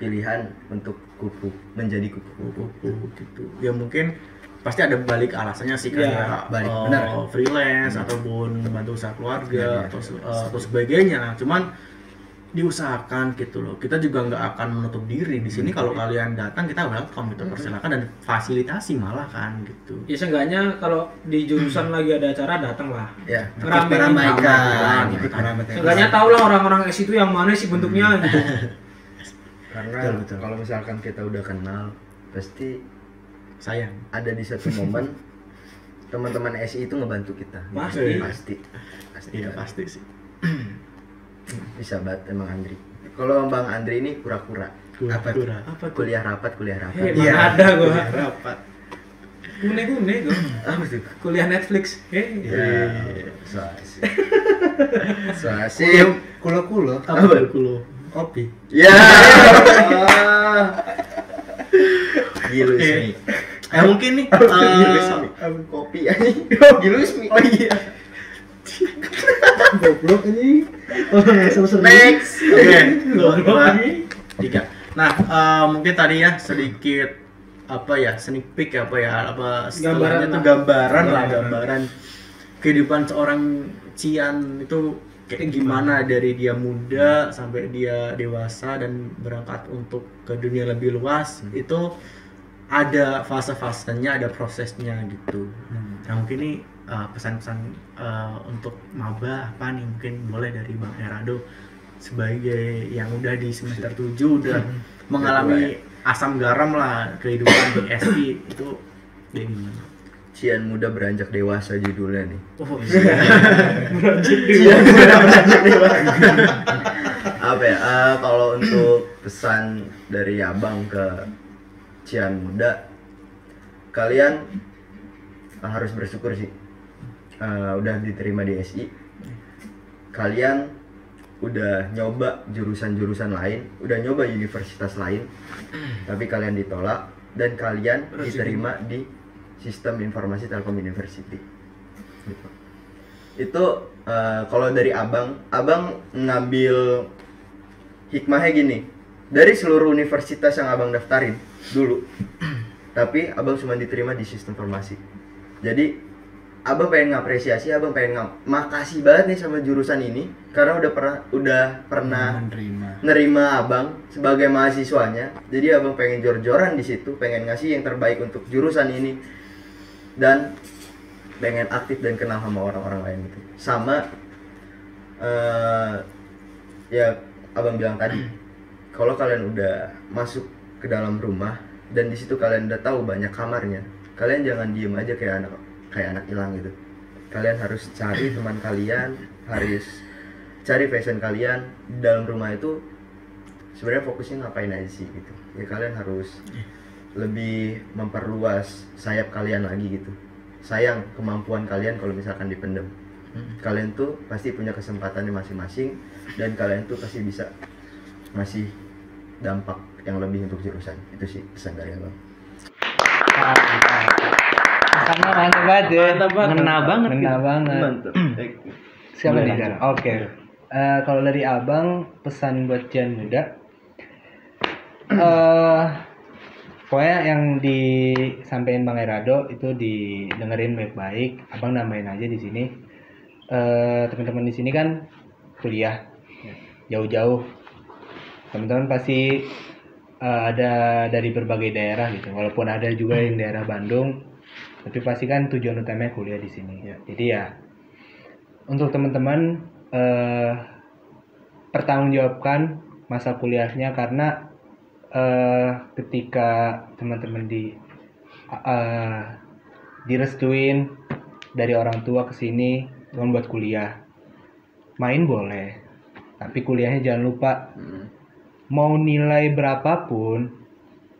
pilihan untuk kupu menjadi kupu-kupu.
kupu-kupu gitu ya mungkin pasti ada balik alasannya sih
Iya,
kayak
balik.
eh,
Benar. Iya,
freelance ataupun membantu usaha keluarga atau se- eh, atau sebagainya cuman diusahakan gitu loh kita juga nggak akan menutup diri di
Hmm.
sini kalau kalian datang kita welcome gitu persilakan dan fasilitasi malah kan gitu
ya seenggaknya kalau di jurusan lagi ada acara datang lah
Ya,
Ngeramein
meramaikan,
keramaikan.
ikut meramaikan.
seenggaknya tau lah orang-orang S itu yang mana sih bentuknya gitu
Karena
betul.
kalau misalkan kita udah kenal, pasti
sayang
ada di satu momen teman-teman SI itu ngebantu kita. Iya,
Pasti.
Pasti. Pasti.
iya
banget.
pasti sih
Bisa banget emang Andri. Kalau Bang Andri ini kura-kura.
Apa tuh?
Kura-kura.
apa tuh
Kuliah rapat, kuliah rapat.
Hei,
Iya.
mana ada gua
rapat
kune kune gua
Apa tuh?
kuliah Netflix
Iya.
Hei.
Ya, so asik. So asik.
Kulo, kulo, kulo,
apa kulo
kopi.
Ya. Gilu Ismi.
eh mungkin nih
Oh,
Gilu
iya,
eh,
Ismi. Kopi anjing. Gilu Ismi. Oh iya.
Goblok
Iya,
ini. Orang seru-seru.
Next.
Oke, dua, tiga. Nah, eh, mungkin tadi ya sedikit apa ya sneak peek apa ya apa
Gambaran
setelahnya tuh
lah.
gambaran lah gambaran kehidupan seorang Cian itu
kayak gimana dari dia muda sampai dia dewasa dan berangkat untuk ke dunia lebih luas itu ada fase-fasenya, ada prosesnya gitu. Nah mungkin ini uh, pesan-pesan uh, untuk maba apa nih mungkin boleh dari Bang Herado sebagai yang udah di semester 7 udah mengalami asam garam lah kehidupan di SI itu dia gimana?
Cian muda beranjak dewasa judulnya nih.
Oh,
Iya.
Cian muda beranjak dewasa. Apa ya? eh, kalau untuk pesan dari Abang ke Cian muda, kalian harus bersyukur sih. Eh, udah diterima di SI. Kalian udah nyoba jurusan-jurusan lain, udah nyoba universitas lain, tapi kalian ditolak dan kalian diterima di sistem informasi Telkom University. Gitu. Itu eh, kalau dari abang, abang ngambil hikmahnya gini, dari seluruh universitas yang abang daftarin dulu, tapi abang cuma diterima di sistem informasi. Jadi abang pengen ngapresiasi, abang pengen ngam, makasih banget nih sama jurusan ini karena udah pernah udah pernah
menerima
nerima abang sebagai mahasiswanya jadi abang pengen jor-joran di situ pengen ngasih yang terbaik untuk jurusan ini dan pengen aktif dan kenal sama orang-orang lain gitu sama eh, ya abang bilang tadi kalau kalian udah masuk ke dalam rumah dan di situ kalian udah tahu banyak kamarnya kalian jangan diem aja kayak anak kayak anak hilang gitu kalian harus cari teman kalian harus cari fashion kalian di dalam rumah itu sebenarnya fokusnya ngapain aja sih gitu ya kalian harus lebih memperluas sayap kalian lagi gitu sayang kemampuan kalian kalau misalkan dipendem kalian tuh pasti punya kesempatannya masing-masing dan kalian tuh pasti bisa masih dampak yang lebih untuk jurusan itu sih pesan dari abang
Karena mantap banget ya.
Mantap banget.
Ngena banget
Ngena banget.
mantap
Siapa
Boleh
nih? Oke.
lanjut. Iya.
Eh, kalau dari Abang pesan buat Jan muda eh pokoknya yang disampaikan Bang Erado itu didengerin baik-baik. Abang nambahin aja di sini. Eh, teman-teman di sini kan kuliah jauh-jauh. Teman-teman pasti eh, ada dari berbagai daerah gitu. Walaupun ada juga yang daerah Bandung, tapi pasti kan tujuan utamanya kuliah di sini.
Iya.
Jadi ya untuk teman-teman eh pertanggungjawabkan masa kuliahnya karena eh ketika teman-teman di eh, direstuin dari orang tua ke sini cuma buat kuliah main boleh tapi kuliahnya jangan lupa mau nilai berapapun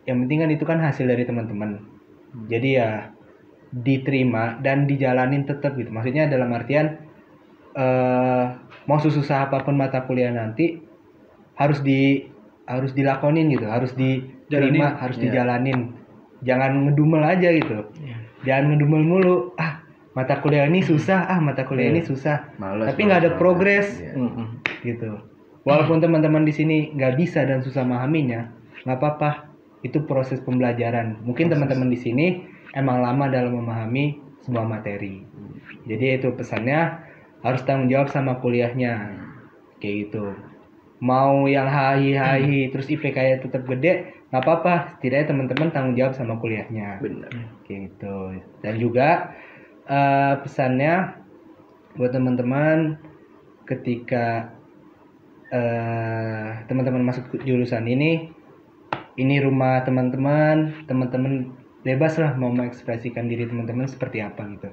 yang penting kan itu kan hasil dari teman-teman jadi ya diterima dan dijalanin tetap gitu maksudnya dalam artian eh mau susah apapun mata kuliah nanti harus di harus dilakonin gitu harus diterima harus dijalanin jangan ngedumel aja gitu jangan ngedumel mulu ah mata kuliah ini susah ah mata kuliah ini susah tapi nggak ada progres
Iya.
Hmm. gitu. Walaupun teman-teman di sini nggak bisa dan susah memahaminya, nggak apa-apa. Itu proses pembelajaran. Mungkin teman-teman di sini emang lama dalam memahami sebuah materi. Jadi itu pesannya harus tanggung jawab sama kuliahnya. Kayak gitu. Mau yang hahi-hahi terus IPK-nya tetap gede, nggak apa-apa. Setidaknya teman-teman tanggung jawab sama kuliahnya.
benar
Kayak gitu. Dan juga eh, pesannya buat teman-teman ketika eh, teman-teman masuk ke jurusan ini, ini rumah teman-teman, teman-teman bebas lah mau mengekspresikan diri teman-teman seperti apa gitu.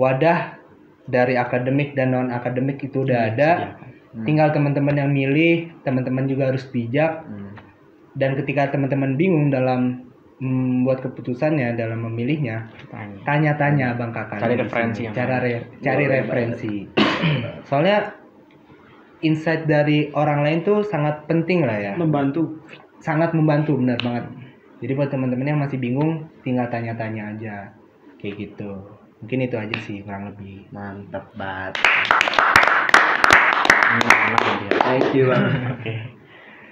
Wadah dari akademik dan non akademik itu udah
Iya,
ada.
Hmm.
Tinggal teman-teman yang milih, teman-teman juga harus bijak dan ketika teman-teman bingung dalam membuat keputusannya dalam memilihnya
Tanya.
tanya-tanya abang kakak
Hmm. Cari referensi yang
cara re- cari referensi soalnya insight dari orang lain tuh sangat penting lah ya
membantu
sangat membantu benar banget jadi buat teman-teman yang masih bingung tinggal tanya-tanya aja kayak gitu mungkin itu aja sih kurang lebih
mantap banget
Thank you bang. Oke.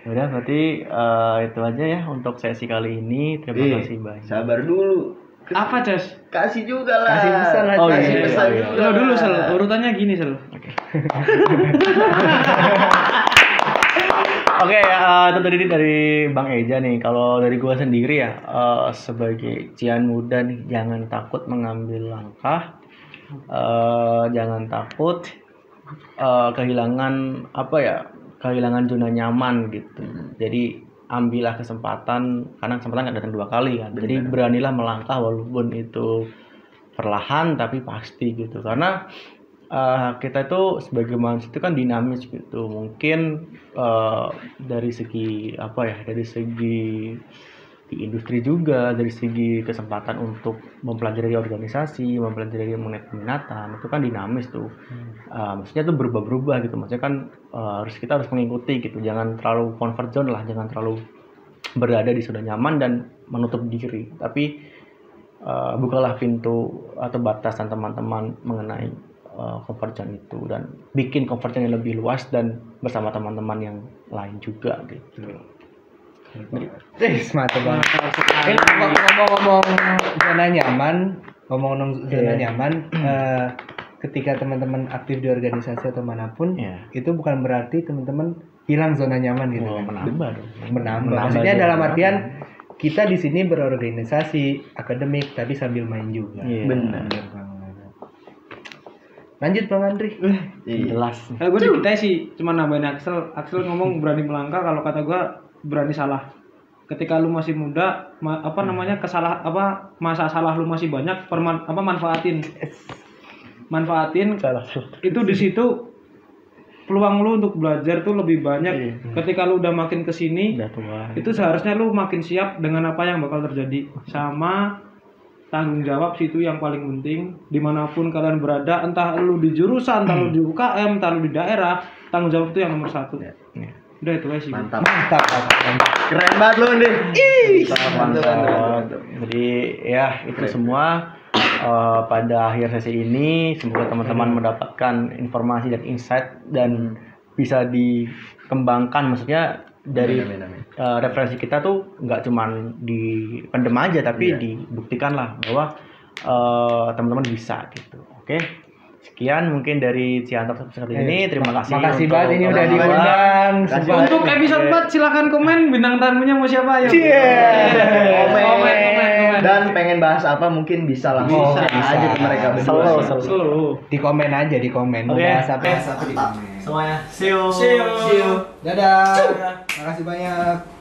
Udah berarti eh, itu aja ya untuk ya sesi kali ini. Terima
Ih,
kasih banyak.
Iya. sabar dulu
Apa, Cas?
Kasih juga lah.
Kasih pesan lah,
Oh,
Kasih
iya, iya,
pesan
iya.
juga.
Lo dulu, Sel. Urutannya gini, Sel.
Oke, eh, itu tadi dari Bang Eja nih. Kalau dari gua sendiri ya, eh, sebagai cian muda nih, jangan takut mengambil langkah, Eh, jangan takut eh, kehilangan apa ya, kehilangan zona nyaman gitu. Jadi ambillah kesempatan, karena kesempatan nggak datang dua kali kan. Jadi beranilah melangkah walaupun itu perlahan tapi pasti gitu. Karena eh, kita itu sebagai manusia itu kan dinamis gitu mungkin eh, dari segi apa ya dari segi di industri juga dari segi kesempatan untuk mempelajari organisasi mempelajari mengenai peminatan itu kan dinamis tuh Eh, maksudnya tuh berubah-berubah gitu maksudnya kan eh, harus kita harus mengikuti gitu jangan terlalu comfort zone lah jangan terlalu berada di zona nyaman dan menutup diri tapi eh, bukalah pintu atau batasan teman-teman mengenai eh, comfort zone itu dan bikin comfort zone yang lebih luas dan bersama teman-teman yang lain juga gitu.
Eh, mantap banget. Ini Kan
Iya.
ngomong-ngomong zona nyaman, ngomong-ngomong
Iya.
zona nyaman, eh, ketika teman-teman aktif di organisasi atau manapun,
Iya.
itu bukan berarti teman-teman hilang zona nyaman gitu
Wah,
kan.
Oh, menambah dong.
Menambah.
Menambah
Maksudnya
zona
dalam
nyaman.
artian kita di sini berorganisasi akademik tapi sambil main juga.
Iya.
Benar.
Bener banget. Lanjut Bang Andri.
Iya.
Jelas.
Kalau gue dikitai sih cuma nambahin Axel. Axel ngomong berani melangkah kalau kata gue berani salah. Ketika lu masih muda, ma- apa namanya kesalah apa masa salah lu masih banyak, perman, apa manfaatin, manfaatin
Salah.
itu di situ peluang lu untuk belajar tuh lebih banyak.
Iya.
Ketika lu udah makin kesini,
Udah tua.
itu seharusnya lu makin siap dengan apa yang bakal terjadi sama tanggung jawab sih itu yang paling penting dimanapun kalian berada entah lu di jurusan entah lu di UKM entah lu di daerah tanggung jawab itu yang nomor satu
Iya.
udah itu aja sih
Mantap.
Mantap. mantap.
Keren banget lu, Ndin. Mantap, mantap,
Mantap.
mantap.
Jadi ya itu semua eh, pada akhir sesi ini semoga
Hmm.
teman-teman mendapatkan informasi dan insight dan bisa dikembangkan maksudnya dari
Amin, amin, amin.
eh, referensi kita tuh nggak cuman di pendem aja tapi
Iya.
dibuktikan lah bahwa eh, teman-teman bisa gitu. Oke. Sekian mungkin dari Ciantar seperti
Iya.
ini. Terima kasih.
Makasih
untuk-
banget ini udah
Makasih banyak.
diundang.
Kasih
Sumpah.
untuk episode 4 silahkan komen bintang tamunya mau siapa ya
Komen.
komen komen komen
Dan pengen bahas apa mungkin bisa langsung
Bisa.
aja ke mereka berdua.
Selalu,
sih.
selalu.
Selalu.
di komen aja di komen mau
Oke.
bahas apa
Semuanya. See you.
See you. Dadah. Makasih banyak.